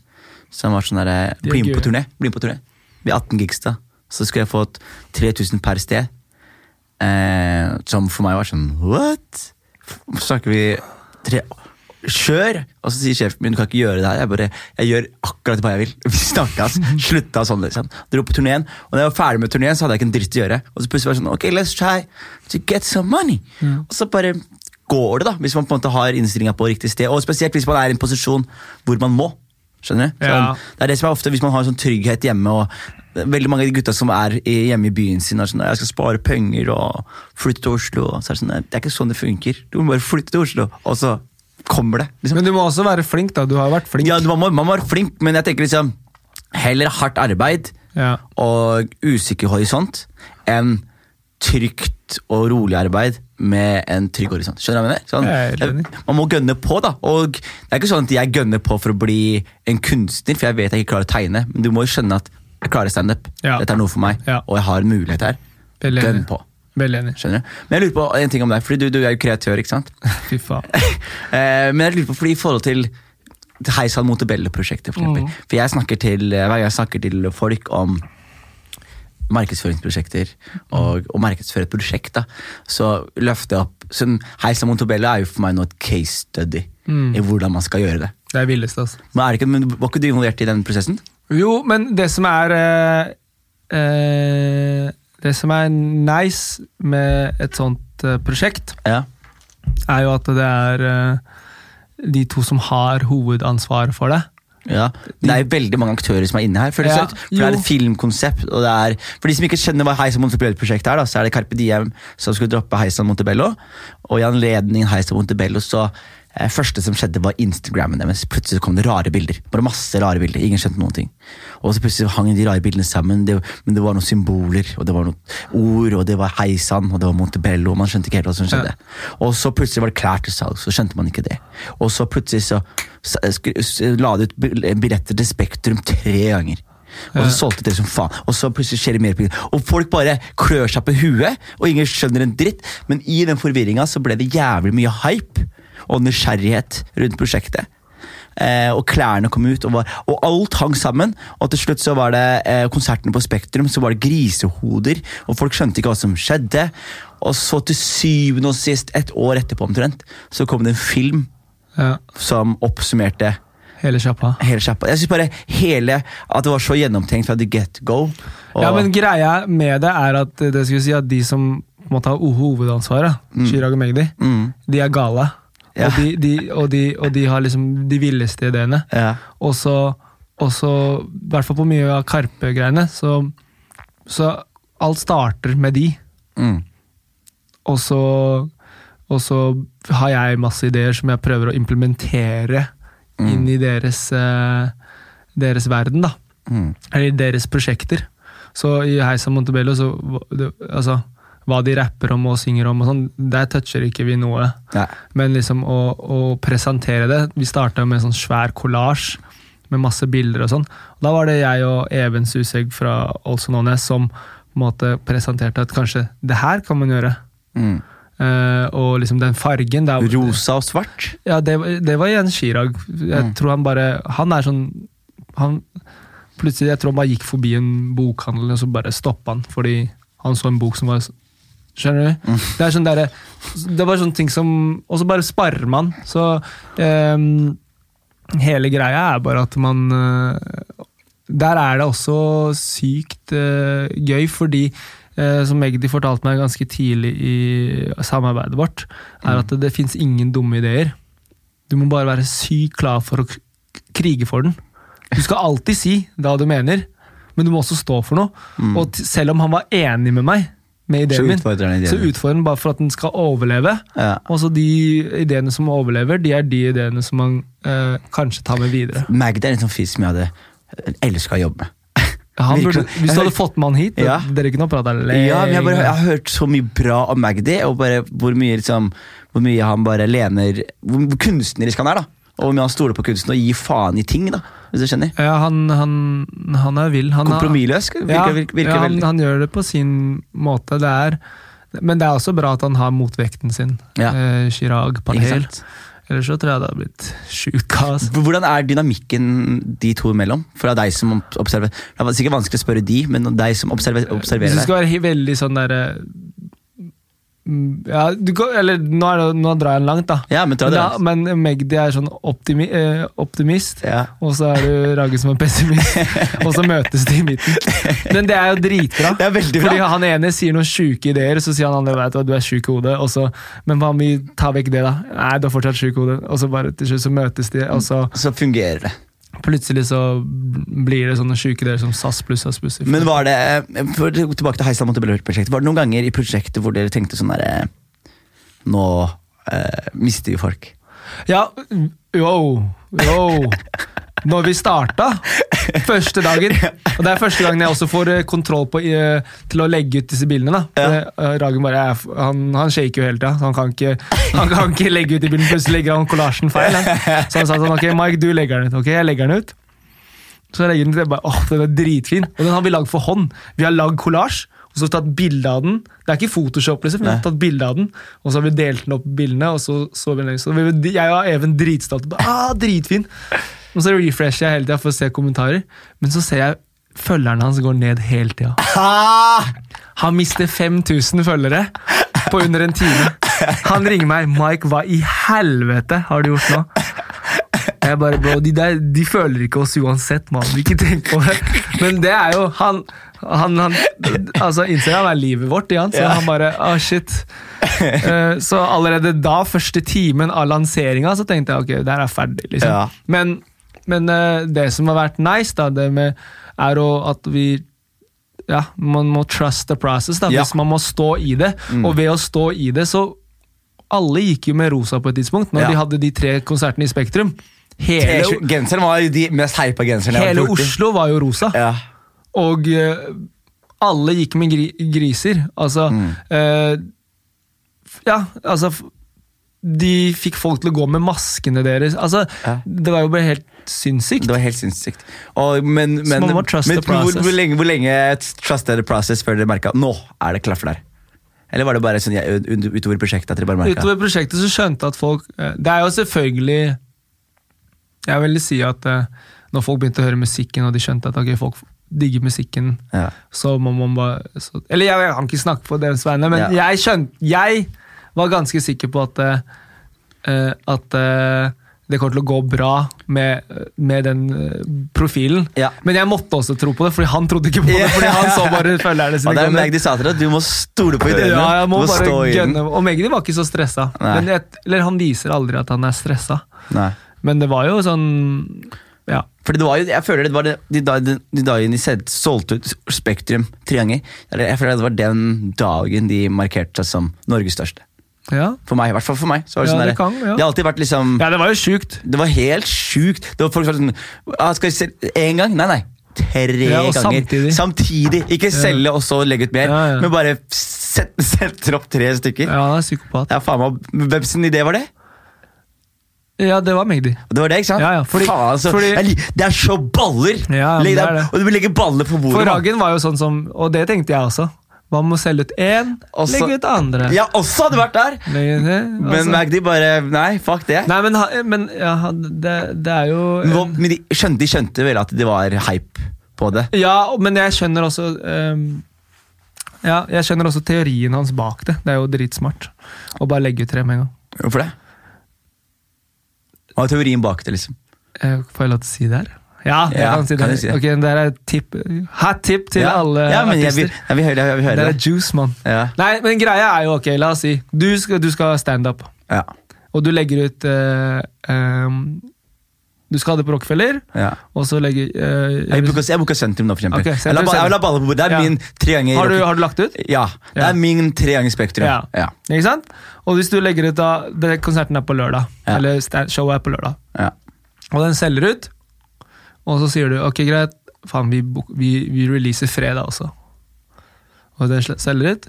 som var sånn der,
er
bli med på
gøy.
turné. Bli med på turné. Vi er 18 gigs da. Så skulle jeg fått 3000 per sted. Eh, som for meg var sånn What? Så snakker vi tre Kjør! Og så sier sjefen min du kan ikke gjøre det her. Jeg bare, jeg gjør akkurat hva jeg vil. Vi snakkes. Slutta sånn, liksom. Dro på turneen. Og da jeg var ferdig med turneen, så hadde jeg ikke en dritt å gjøre. Og så plutselig var det sånn Ok, let's try to get some money. Og så bare går det, da. Hvis man på en måte har innstillinga på riktig sted. Og spesielt hvis man er i en posisjon hvor man må. Skjønner du? Sånn,
Ja.
det er det som er ofte hvis man har sånn trygghet hjemme. og Veldig mange av de gutta som er i- hjemme i byen sin er sånn «Nei, 'Jeg skal spare penger og flytte til Oslo'. Og så er det sånn «Nei, Det er ikke sånn det funker. Du må bare flytte til Oslo, og så kommer det. liksom.
Men du må også være flink, da. Du har vært flink.
Ja, man må, man må være flink, men jeg tenker liksom Heller hardt arbeid
Ja.
og usikker horisont enn trygt og rolig arbeid med en trygg horisont. Skjønner du hva jeg mener? Sånn,
Jeg er helt enig.
jeg- man må gønne på, da. Og det er ikke sånn at jeg gønner på for å bli en kunstner, for jeg vet jeg ikke klarer å tegne, men du må jo skjønne at jeg klarer standup.
Ja.
Dette er noe for meg,
Ja.
og jeg har en mulighet her.
Veldig
Gønn
enig.
på.
Veldig enig.
Skjønner du? Men jeg lurer på en ting om deg, for du, du er jo kreatør, ikke sant?
Fy faen.
Eh, Men jeg lurer på, fordi i forhold til Hei sann Montebello-prosjektet, for eksempel. For jeg snakker til, eh, hver gang jeg snakker til folk om markedsføringsprosjekter og, og markedsføre et prosjekt, da, så løfter jeg opp sånn, Hei sann Montebello er jo for meg nå et case study i hvordan man skal gjøre det.
Det er villeste, altså.
Men, er det ikke, men Var ikke du involvert i den prosessen?
Jo, men det som er eh, eh, Det som er nice med et sånt eh, prosjekt,
Ja.
er jo at det er eh, de to som har hovedansvaret for det.
Ja, men Det er jo veldig mange aktører som er inne her. føles det
Ja,
ut. For Det er
jo.
et filmkonsept. og det er, For de som ikke skjønner hva Heisan Montebello-prosjektet er, da, så er det Carpe Diem som skulle droppe Heisan Montebello. Og i anledning Heisan Montebello så eh, første som skjedde, var Instagrammen deres. Plutselig kom det rare bilder. Bare masse rare bilder. Ingen skjønte noen ting. Og så plutselig hang de rare bildene sammen, det, men det var noen symboler, og det var noen ord, og det var Heisan, og det var Montebello, og man skjønte ikke helt hva som skjedde. Og så plutselig var det klær til salg, så skjønte man ikke det. Og så plutselig så, så sk- s- la de ut bil- billetter til Spektrum tre ganger. Og så solgte det som faen. Og så plutselig skjer det mer. på- Og folk bare klør seg på huet, og ingen skjønner en dritt. Men i den forvirringa så ble det jævlig mye hype og nysgjerrighet rundt prosjektet. Eh, og klærne kom ut, og, var, og alt hang sammen. Og til slutt så var det eh, konsertene på Spektrum, så var det grisehoder, og folk skjønte ikke hva som skjedde. Og så til syvende og sist, et år etterpå omtrent, så kom det en film
Ja,
som oppsummerte
hele sjappa.
hele sjappa. Jeg synes bare hele At det var så gjennomtenkt fra the get go. Og,
Ja, men greia med det er at eh, det skulle si at de som måtte ha hovedansvaret, Chirag og Magdi,
mm,
de er gale.
Ja.
Og, de, de, og, de, og de har liksom de villeste ideene.
ja.
Og så, og så i hvert fall på mye av Karpe-greiene, så, så alt starter med de.
Mm,
Og så, og så har jeg masse ideer som jeg prøver å implementere
Mm.
inn i deres, eh, deres verden, da.
mm,
Eller i deres prosjekter. Så i Heisa Montebello, så hva- det- altså hva de rapper om og synger om og sånn, der toucher ikke vi noe.
nei.
Men liksom å, å presentere det Vi starta med en sånn svær kollasj med masse bilder og sånn. Og Da var det jeg og Even Susegg fra Also Known As som på en måte presenterte at kanskje det her kan man gjøre.
Mm.
Eh, og liksom den fargen der,
Rosa og svart.
ja, det, var- det var igjen Chirag. Jeg tror han bare Han er sånn han, Plutselig, jeg tror han bare gikk forbi en bokhandel, og så bare stoppa han fordi han så en bok som var s- Skjønner du? Det er sånn derre Det var sånne ting som Og så bare sparer man. Så ehm, hele greia er bare at man eh, Der er det også sykt eh, gøy, fordi eh, som Magdi fortalte meg ganske tidlig i samarbeidet vårt, er at det, det fins ingen dumme ideer. Du må bare være sykt klar for å k- krige for den. Du skal alltid si hva du mener, men du må også stå for noe. Og t selv om han var enig med meg, med
Så
ideen min.
utfordrer den ideen
Så
din.
utfordrer den bare for at den skal overleve.
Ja.
Og så de ideene som overlever, de er de ideene som man eh, kanskje tar med videre.
Magd er en sånn fyr som jeg hadde elska å jobbe med.
Han
Virkelig.
burde, hvis du
Jeg
hadde
hører-
fått med han hit,
Ja.
dere kunne ha prata lenge.
Ja, men jeg, bare, jeg har hørt så mye bra om Magdi, og bare hvor mye, liksom, hvor mye han bare lener Hvor kunstnerisk han er, da. Og hvor mye han stoler på kunsten og gir faen i ting, da. Hvis du skjønner.
Ja, han, han, han er vill. Han er-
Kompromissløs virker,
Ja,
virker, virker
ja han,
veldig.
han gjør det på sin måte. Det er, men det er også bra at han har motvekten sin.
Ja.
Eh, Chirag
Ikke
Patel.
sant?
Ellers så tror jeg det hadde blitt sjukt kaos.
Hvordan er dynamikken de to imellom? Fra deg som observerer Det er sikkert vanskelig å spørre de, men deg som observer,
Hvis
observerer
du
deg.
skal være he- veldig sånn derre mm, ja, du kan, eller nå, er det, nå drar jeg den langt, da.
Ja, men ta det.
da, men Magdi er sånn optimi, eh, optimist,
Ja.
og så er du Ragge som er pessimist. og så møtes de i midten. Men det er jo dritbra.
Det er veldig bra.
Fordi han ene sier noen sjuke ideer, så sier han andre vet du hva, du er sjuk i hodet. Og så, men hva om vi tar vekk det, da? Nei, du er fortsatt sjuk i hodet. Og så bare til slutt så møtes de, og så
Så fungerer det.
plutselig så blir det sånne sjuke ideer som SAS pluss SAS pluss.
Men var det eh, for, Tilbake til Heistad Montebello-prosjektet. Var det noen ganger i prosjektet hvor dere tenkte sånn derre Nå eh, mister vi folk.
Ja, yo, yo. Når vi starta første dagen. Og det er første gangen jeg også får eh, kontroll på eh, til å legge ut disse bildene. da.
Ja.
For, eh, Ragen bare er, f- han, han shaker jo hele tida, så han kan, ikke, han kan ikke legge ut de bildene. Plutselig legger han kollasjen feil. da. Så han sa sånn Ok, Mike, du legger den ut. Ok, jeg legger den ut. Så jeg legger den til jeg bare, åh, den er dritfin. Og den har vi lagd for hånd. Vi har lagd kollasj, og så har vi tatt bilde av den. Det er ikke Photoshop, liksom. Vi har
Nei.
tatt bilde av den, og så har vi delt den opp i bildene, og så så vi den. Så vi, jeg og Even dritstolte. Bare, Ah, dritfin! Og så refresher jeg hele tida for å se kommentarer, men så ser jeg følgerne hans går ned hele tida. Han mister 5000 følgere på under en time. Han ringer meg. 'Mike, hva i helvete har du gjort nå?' Jeg bare, bro, De der de føler ikke oss uansett, mann. Ikke tenk på det. Men det er jo han han, han altså Instagram er livet vårt i han, så han bare ah, shit. Eh, så allerede da, første timen av lanseringa, så tenkte jeg ok, det her er ferdig. liksom.
Ja.
Men, men eh, det som har vært nice, da, det med, er å, at vi ja, man må trust the process da,
Ja. Mm.
hvis man må stå i det. Og ved å stå i det, så Alle gikk jo med rosa på et tidspunkt, når
Ja.
de hadde de tre konsertene i Spektrum. Hele,
T-skjorte- Genseren var jo de mest hypa genserne jeg har
hele
vært borti.
Oslo var jo rosa.
Ja.
Og eh, alle gikk med gri griser. Altså
Mm.
eh, f- Ja, altså f- De fikk folk til å gå med maskene deres. Altså,
Ja.
Det var jo bare helt sinnssykt.
Det var helt sinnssykt. Og, men men,
man må trust
men
the process.
Hvor, hvor, lenge, hvor lenge trustet the process før dere merka nå er det klaffer der? Eller var det bare sånn, ja, ut- utover prosjektet at dere bare merka
Utover prosjektet så skjønte jeg at folk eh, Det er jo selvfølgelig Jeg vil si at eh, når folk begynte å høre musikken, og de skjønte at ok, folk digger musikken,
Ja.
så må man bare så, Eller jeg, jeg kan ikke snakke på deres vegne, men
Ja.
jeg skjønte Jeg var ganske sikker på at eh, eh, at eh, det kommer til å gå bra med, med den eh, profilen.
Ja.
Men jeg måtte også tro på det, fordi han trodde ikke på det. Fordi han så bare følgerne
Og
sine.
det
gå
er
ned.
Magdi sa til deg at du må stole på ideene.
Ja, jeg må
du må
bare
stå i den.
gønne. Og Magdi var ikke så stressa.
Nei.
Men jeg, eller han viser aldri at han er stressa.
Nei.
Men det var jo sånn Ja.
Fordi det var jo, jeg føler det var det, de, da- de, de dagene de sed- solgte ut Spektrum tre ganger, eller jeg føler det var den dagen de markerte seg som Norges største.
Ja,
For meg, i hvert fall for meg. Så var det
Ja,
sånn
det
der-
kan, ja.
det har alltid vært liksom
ja det var jo sjukt.
Det var helt sjukt. Det var folk som var sånn ah, Skal vi selge én gang? Nei, nei. Tre
Ja, og
ganger.
samtidig.
Samtidig. Ikke selge og så legge ut mer,
Ja, ja.
men bare set- setter opp tre stykker.
Ja, han er psykopat.
Ja, faen meg, Hvem sin idé var det?
Ja, det var Magdi.
Det var det, ikke sant?
Ja, ja, fordi-
faen, altså.
fordi-
Jeg lik- det er så baller!
Ja, men
Legg
det
deg-
er det.
Og du vil legge baller på bordet.
For
mann.
Ragen var jo sånn som Og det tenkte jeg også. Man må selge ut én,
Og så-
legge ut andre.
Ja, også hadde vært der!
Legge ut det, og
Men
så-
Magdi bare Nei, fuck det.
altså. Nei, men, ha- men ja, han- det, det er jo eh,
Men hva- Men de skjønte, de skjønte vel at det var hype på det.
Ja, og- men jeg skjønner også ehm, Ja, jeg skjønner også teorien hans bak det. Det er jo dritsmart å bare legge ut tre med en gang.
Hvorfor det? Hva er teorien bak det, liksom?
Eh, Får jeg lov til å si det her? Ja, jeg
Ja,
kan si det.
kan du si det?
Ok, det her er et tipp. Hot tip til
ja.
alle
ja, men jeg vil,
artister.
jeg vil høre det. Jeg vil høre
det er
det.
juice, mann.
Ja.
Nei, men greia er jo ok, la oss si. Du skal, du skal standup,
Ja.
og du legger ut eh, em, Du skal ha det på Rockefeller,
Ja.
og så legge eh,
Jeg bruker, jeg bruker sentrum nå, for eksempel.
Ok,
jeg, la,
sentrum,
ba- jeg la baller på bordet. Det er
Ja.
min tre ganger
har, du,
rock-
har du lagt det ut?
Ja, det
Ja.
er min tre ganger spektrum.
Ja.
Ja.
Ikke sant? Og hvis du legger ut da det Konserten er på lørdag,
Ja.
eller sta- showet er på lørdag,
Ja.
og den selger ut, og så sier du ok, greit, faen, vi, bok- vi, vi releaser fredag også. Og den sl- selger ut,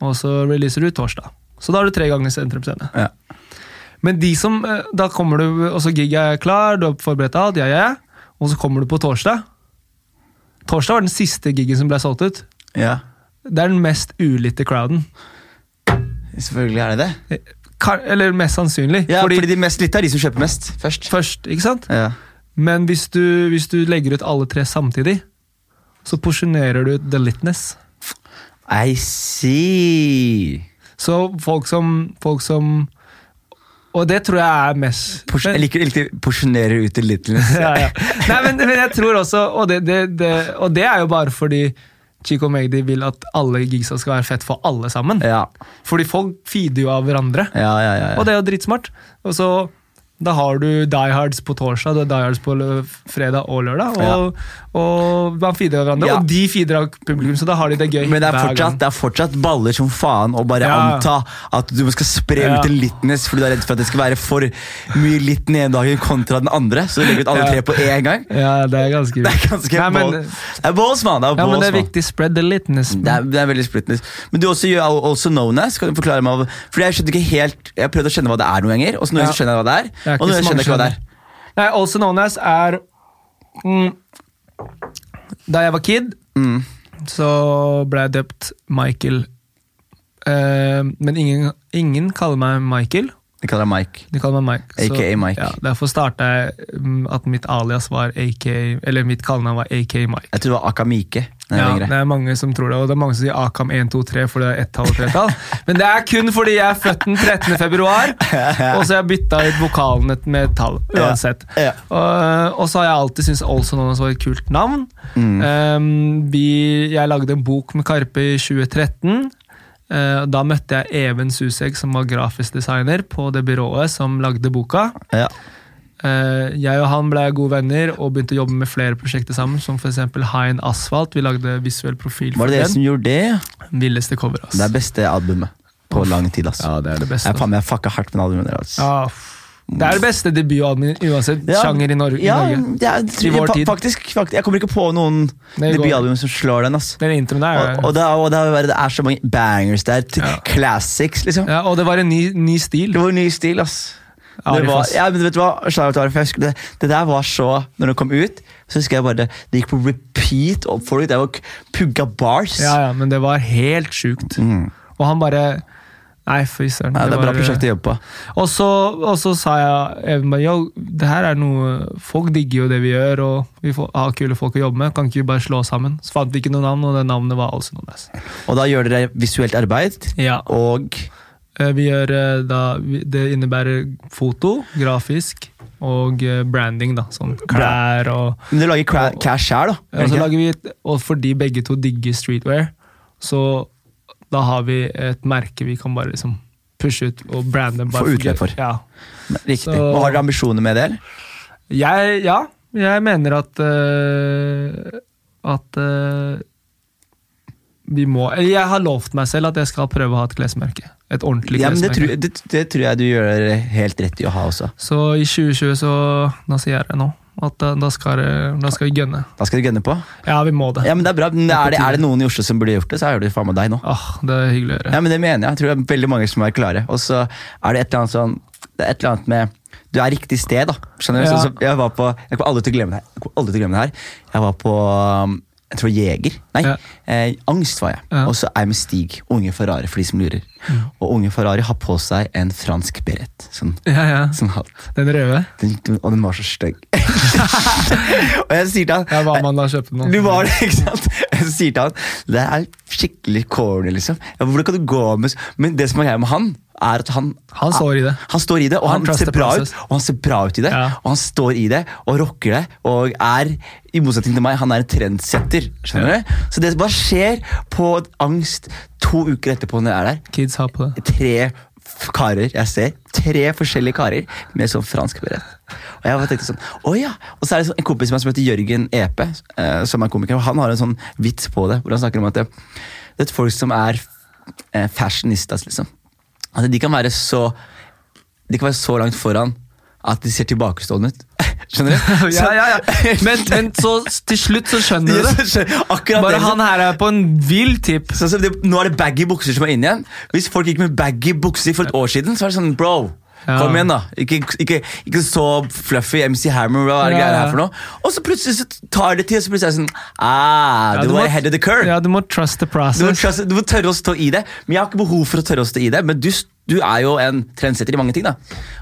og så releaser du torsdag. Så da har du tre ganger sentrumsscene.
Ja.
Men de som, eh, da kommer du, og så gig er klar, du har forberedt alt, ja, ja, ja, og så kommer du på torsdag. Torsdag var den siste gigen som ble solgt ut.
ja.
Det er den mest ulytte crowden.
Selvfølgelig er det det.
Ka- Eller mest sannsynlig.
Ja, fordi,
fordi
de mest litt er de som kjøper mest først.
først, ikke sant?
Ja.
Men hvis du, hvis du legger ut alle tre samtidig, så porsjonerer du the litness.
I see.
Så folk som, folk som Og det tror jeg er mest
Porsj- jeg liker, jeg liker porsjonerer ut til littleness.
ja, ja. Nei, men, men jeg tror også og det, det, det, og det er jo bare fordi Chico Magdi vil at alle gigsa skal være fett for alle sammen.
Ja.
Fordi folk feeder jo av hverandre.
Ja, ja, ja,
Og
ja.
det er jo dritsmart. Og så da har du Die Hards på torsdag, du har Die Hards på lø- fredag og lørdag. Og, og man feeder hverandre,
Ja.
og de feeder av publikum, så da har de det gøy.
Men det er,
hver
fortsatt,
gang.
det er fortsatt baller som faen å bare
Ja.
anta at du skal spre
Ja.
ut en litness fordi du er redd for at det skal være for mye litt den ene dagen kontra den andre. Så du legger ut alle
Ja.
tre på én gang.
Ja, det er
Det
ganske
er
vilt.
ganske
Nei, men-
balls. Det er balls, mann. Det er
Ja,
balls,
men det er
mann.
viktig. Spread the litness.
Det er, det er veldig splittende. Men du også gjør al- also known as. Kan du forklare meg hva- Fordi jeg skjønte ikke helt Jeg har prøvd å skjønne hva det er noen ganger, og så noen
Ja.
ganger skjønner jeg hva det er.
Det er ikke
Og noen
så
ganger skjønner jeg
mange
ikke hva det er.
Nei, also known as er mm, Da jeg var kid,
Mm.
så ble jeg døpt Michael. Eh, men ingen, ingen kaller meg Michael.
Jeg kaller deg Mike.
De kaller meg Mike. så-
AKA Mike.
Ja, derfor starta jeg mm, at mitt alias var AK, eller mitt kallenavn var AK Mike.
Jeg tror det var Akamike. Nei,
Ja,
lenger.
det er mange som tror det, og det er mange som sier Akam 123 fordi det er ett tall og tre tall. Men det er kun fordi jeg er født den 13. februar, og så har jeg bytta ut vokalene med et tall. Uansett.
Ja.
Og, og så har jeg alltid syntes Olsen Onas var et kult navn.
Mm.
Um, vi, jeg lagde en bok med Karpe i 2013. Eh, da møtte jeg Even Susek, som var grafisk designer på det byrået som lagde boka.
Ja.
Eh, jeg og han ble gode venner og begynte å jobbe med flere prosjekter sammen, som f.eks. Hein Asfalt. Vi lagde visuell profil for
Var det dere
den.
som gjorde det?
Villeste cover, ass.
Det er beste albumet på lang tid. ass
ja, det er det beste.
Jeg, faen, meg, jeg fucka hardt med albumet deres. ass.
Ja, f- det er det beste debutalbumet uansett
Ja,
sjanger i, Nor
Ja,
i Norge.
det er,
I vår
fa-
tid.
Faktisk, faktisk, jeg kommer ikke på noen
Det går.
debutalbum som slår den. ass
Den introen der.
Og, og, det, er, og det, er, det er så mange bangers der. til
Ja.
Classics, liksom.
ja, og det var en ny, ny stil.
Det var ny stil, ass. Det
Arif,
var,
ass.
ja, men vet du hva? Slaget var, for jeg husker, det, det der var så Når det kom ut, så husker jeg bare det, det gikk på repeat opp for folk. Det var k- pugga bars.
Ja, ja, men det var helt sjukt.
Mm.
Og han bare Nei, fy søren.
Nei, det er
var- eh,
bra prosjekt å jobbe på.
Og så, og så sa jeg Even bare, yo, det her er noe Folk digger jo det vi gjør, og vi får, har kule folk å jobbe med. Kan ikke vi bare slå sammen? Så fant vi ikke noe navn, og det navnet var altså noe nes.
Og da gjør dere visuelt arbeid
Ja.
og
Eh, Vi gjør eh, da vi- Det innebærer foto, grafisk og eh, branding, da. Sånn klær og
Men dere lager cra- cash her, da.
Ja,
gjør dere
så
ikke?
lager vi et, og fordi begge to digger streetwear, så da har vi et merke vi kan bare liksom pushe ut og brande. bare
Få utløp for.
Ja.
Riktig.
så-
Og har dere ambisjoner med det? eller?
Jeg, ja, jeg mener at øh, at øh, vi må Eller jeg har lovt meg selv at jeg skal prøve å ha et klesmerke. Et ordentlig
Ja, men det,
klesmerke.
tror, det, det tror jeg du gjør helt rett i å ha også.
Så i 2020 så Da sier jeg det nå. At eh, da, da, skal, det- da skal vi gønne.
Da skal du gønne på.
Ja, vi må det.
Ja, men det Er bra Men er Ah. det, er det noen i Oslo som burde gjort det, så er det faen meg deg nå.
Åh, det er hyggelig å gjøre.
Ja, men det mener jeg. Jeg tror det er veldig mange som er klare. Og så er det et eller annet sånn Det er et eller annet med Du er riktig sted, da. Skjønner du?
Ja.
Sånn som jeg var på Jeg kommer aldri til å glemme det her. Jeg kommer aldri til å glemme det her. Jeg var på um, jeg tror Jeger. Nei,
Ja.
eh, Angst var jeg.
Ja.
Og så er jeg med Stig. Unge Ferrari, for de som lurer. Og unge Ferrari har på seg en fransk beret. Sånn,
Ja, ja.
sånn hatt.
Den røde.
Den, og den var så stygg. og jeg sier til han
Ja, hva man da kjøpte nå.
du var det, ikke sant? Jeg sier til han Det er skikkelig corny, liksom. Ja, Hvordan kan du gå med s- Men det som er greia med han, er at han
Han står i det.
Han står i det, og
Han
han,
trusts
ser
the
bra ut,
process.
og han ser bra ut i det.
Ja.
Og han står i det og rocker det, og er, i motsetning til meg, han er en trendsetter. Skjønner du? Så det som bare skjer på angst to uker etterpå når jeg er der
Kids har på det.
Tre f- karer jeg ser. Tre forskjellige karer med sånn fransk berett. Og jeg bare tenkte sånn, «Å ja. Og så er det sånn, en kompis som heter Jørgen Epe, eh, som er komiker, og han har en sånn vits på det, hvor han snakker om at det, det er folk som er eh, fashionistas, liksom. At de kan være så De kan være så langt foran at de ser tilbakestående ut. Skjønner du?
Ja, ja, ja. Men, men så til slutt så skjønner du det.
Akkurat
Bare
det, liksom.
han her er på en vill tipp.
Sånn som det, nå er det baggy bukser som er inn igjen. Hvis folk gikk med baggy bukser for et år siden, så var det sånn bro.
Ja.
Kom igjen, da. Ikke, ikke, ikke så fluffy MC Hammer. Hva er det
Ja,
greia
ja.
her for noe? Og så plutselig så tar det tid, og så plutselig er det sånn ah,
Ja,
Du var ahead of the curve.
Ja, du må trust the
Du, må
process.
trust, du må tørre å stå i det. Men jeg har ikke behov for å tørre å stå i det. Men du, s- du er jo en trendsetter i mange ting. da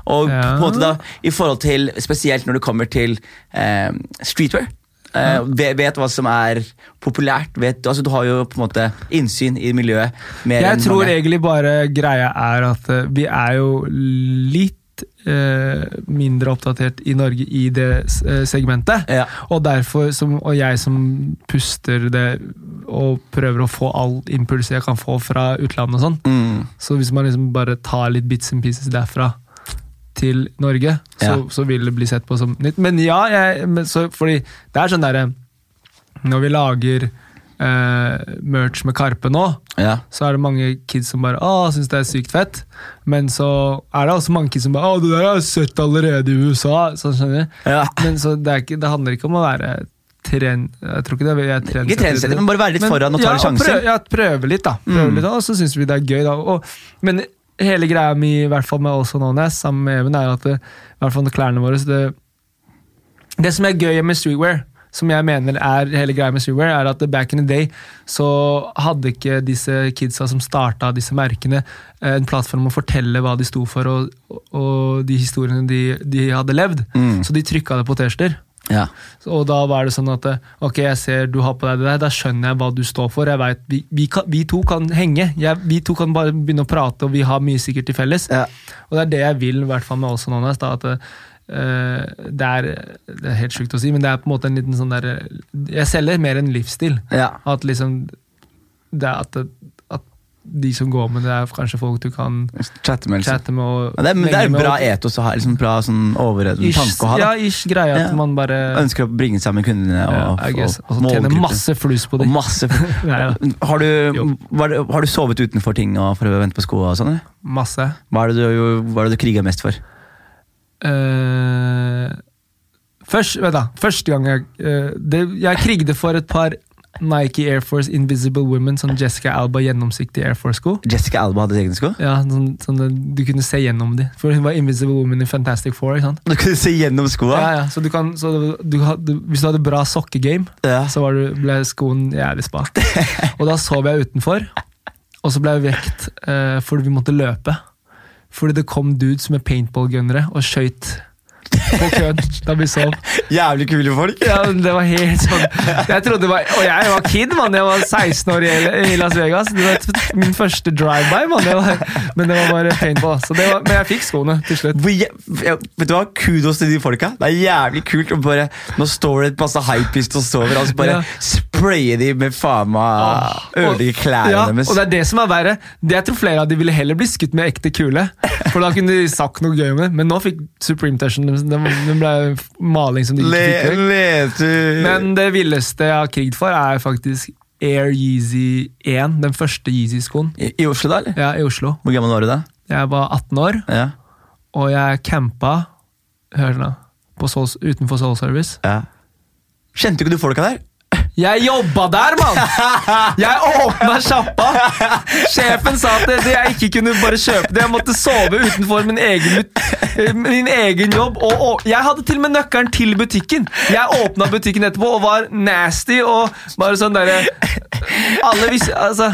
Og på
Ja.
en måte da i forhold til Spesielt når det kommer til eh, streetwear. Eh, ve- vet hva som er populært. Vet, altså, du har jo på en måte innsyn i miljøet. Mer
Jeg
enn
tror
mange.
egentlig bare greia er at eh, vi er jo litt eh, mindre oppdatert i Norge i det eh, segmentet.
Ja.
Og derfor, som, og jeg som puster det og prøver å få all impuls jeg kan få fra utlandet og sånn,
Mm.
så hvis man liksom bare tar litt bits and pieces derfra til Norge, så,
Ja.
så vil det bli sett på som nytt. Men ja, jeg, men så, fordi det er sånn derre Når vi lager eh, merch med Karpe nå,
Ja.
så er det mange kids som bare Åh, syns det er sykt fett. Men så er det også mange kids som bare Åh, det der har jeg sett allerede i USA. Sånn skjønner du.
Ja.
Men så det, er ikke, det handler ikke om å være tren... Jeg tror ikke det jeg er trendsetter.
Ikke trendsetter, men bare være litt
Men-
foran og ta
ja,
litt sjanser.
Prøve, ja, prøve litt, da. Prøve
Mm.
litt, da, og så syns vi det er gøy, da. Og, men hele greia mi, i hvert fall med Also Known As, sammen med Even, er at det, i hvert fall med klærne våre så det, det som er gøy med streetwear, som jeg mener er hele greia med streetwear, er at back in the day så hadde ikke disse kidsa som starta disse merkene, eh, en plattform å fortelle hva de sto for og, og de historiene de, de hadde levd.
Mm.
Så de trykka det på T-skjorter.
Ja.
Og da var det sånn at eh, ok, jeg ser du har på deg det der, da skjønner jeg hva du står for. Jeg vet, vi, vi, kan, vi to kan henge. Jeg, vi to kan bare begynne å prate, og vi har mye sikkert til felles.
Ja.
Og det er det jeg vil, i hvert fall med Olsen Honest. da, At eh, det, er, det er helt sjukt å si, men det er på en måte en liten sånn der Jeg selger mer en livsstil.
Ja.
At liksom det er at, at de som går med det, er kanskje folk du kan
Chatte med, liksom.
chatte med og
Ja, det, er, men det er
henge
en
med,
bra
og-
etos å ha. Liksom bra sånn overordnet
ish,
tanke å ha.
Ja,
Da.
ish greie at
Ja.
man bare
Ønsker å bringe sammen kundene og,
ja, I
og,
guess, og så tjener
målgruppen.
masse flus på
Og
det.
masse
Nei, ja.
Har
Jo.
du, var, det- har du sovet utenfor ting og for å vente på sko og sånn? eller?
Masse.
Hva er det du, hva er det du kriger mest for?
Eh, først, vent da, første gang jeg eh, det, Jeg krigde for et par Nike Air Force Invisible Women, sånn Jessica Alba gjennomsiktige Air Force-sko.
Jessica Alba hadde egne sko.
Ja, sånn, sånn at Du kunne se gjennom dem, for hun var Invisible Woman i Fantastic Four. ikke sant?
Du kunne se gjennom skoa!
Ja, ja, så du kan, så du, hadde- Hvis du hadde bra sokkegame,
Ja.
så var du, ble skoen jævlig spak. Og da sov jeg utenfor, og så ble jeg vekt eh, fordi vi måtte løpe. Fordi det kom dudes med paintball-gunnere og skøyt på køen da vi sov.
Jævlig kule folk!
Ja, men det var helt sånn Jeg trodde det var, Og jeg var kid, mann. Jeg var 16 år i, i Las Vegas. Det var t- min første drive-by, mann. Det var- Men det var bare paintball. Så det var, men jeg fikk skoene til slutt.
Hvor jæ- ja, Vet du hva? Kudos til de folka. Det er jævlig kult å bare Nå står det et masse hypist og sover, og så bare
Ja.
sprayer de med faen meg ødelegge klærne
ja,
deres.
Og det er det som er verre. Det- Jeg tror flere av de ville heller bli skutt med ekte kule. For da kunne de sagt noe gøy om det. Men nå fikk Supreme Tushen Den den ble maling som de ikke
Le,
fikk vekk.
leter.
Men det villeste jeg har kriget for, er faktisk Air Yeezy 1. Den første Yeezy-skoen.
I, I Oslo, da? eller?
Ja, i Oslo.
Hvor gammel var du da?
Jeg var 18 år,
Ja.
og jeg campa Hør nå. På Soul, utenfor Soul Service.
ja. Kjente ikke du folka der?
Jeg jobba der, mann! Jeg åpna sjappa! Sjefen sa at det, det jeg ikke kunne bare kjøpe det. Jeg måtte sove utenfor min egen, but- min egen jobb. Og, og jeg hadde til og med nøkkelen til butikken. Jeg åpna butikken etterpå og var nasty og bare sånn derre Alle visste Altså.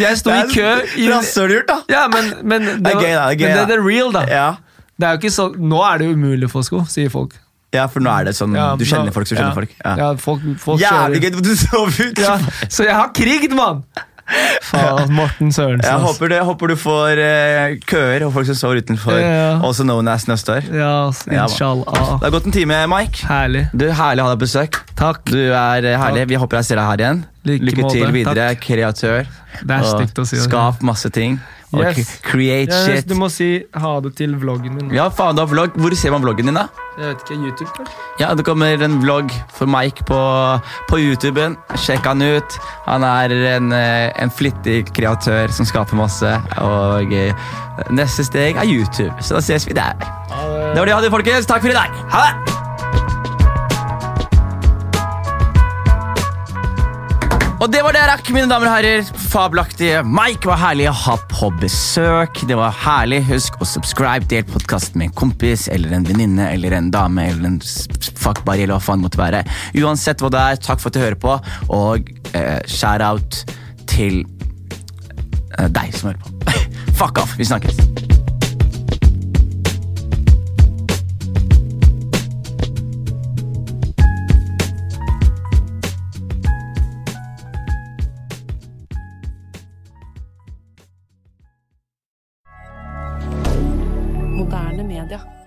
Jeg sto i kø i
Rasshølgjort, da!
Ja, men, men det,
Det er
var-
gøy, da, det er gøy,
men det,
da.
det er real, da.
Ja.
Det er jo ikke så, nå er det jo umulig å få sko, sier folk.
ja, for nå er det sånn
Ja,
Du kjenner
nå-
folk som kjenner
ja.
folk.
Ja,
Ja.
folk, folk
Jævlig
kjører.
gøy at du sov ut!
Ja, så jeg har kriget, mann! Faen, Morten Sørensen.
Jeg
ass.
håper, det, jeg håper du får eh, køer og folk som sover utenfor.
Ja, ja.
Også known as neste år.
Ja, ass,
Ja, mann.
inshallah.
Det har gått en time, Mike.
Herlig.
Du, Herlig å ha deg på besøk.
Takk.
Du er eh, herlig. Vi håper jeg ser deg her igjen.
Like
Lykke
måte.
til videre.
Takk.
Kreatør.
Det er
Og
stygt å si. altså. det.
Skap masse ting. og
Yes.
cre- create
Ja,
shit.
du må si ha det til vloggen min.
Ja, faen, du har vlogg. Hvor ser man vloggen din, da?
Jeg vet ikke, YouTube, kanskje?
Ja, Det kommer en vlogg for Mike på, på YouTuben. Sjekk han ut. Han er en, eh, en flittig kreatør som skaper masse. Og eh, neste steg er YouTube. Så da ses vi der. Det var det jeg hadde, folkens. Takk for i dag. Ha det! Og det var det jeg rakk, mine damer og herrer. Fabelaktige Mike var herlig å ha på besøk. Det var herlig. Husk å subscribe, del podkasten med en kompis eller en venninne eller en dame eller en s- fuck buddy eller hva faen det måtte være. Uansett hva det er, takk for at du hører på, og eh, shout-out til eh, deg som hører på. fuck off. Vi snakkes.
Moderne media.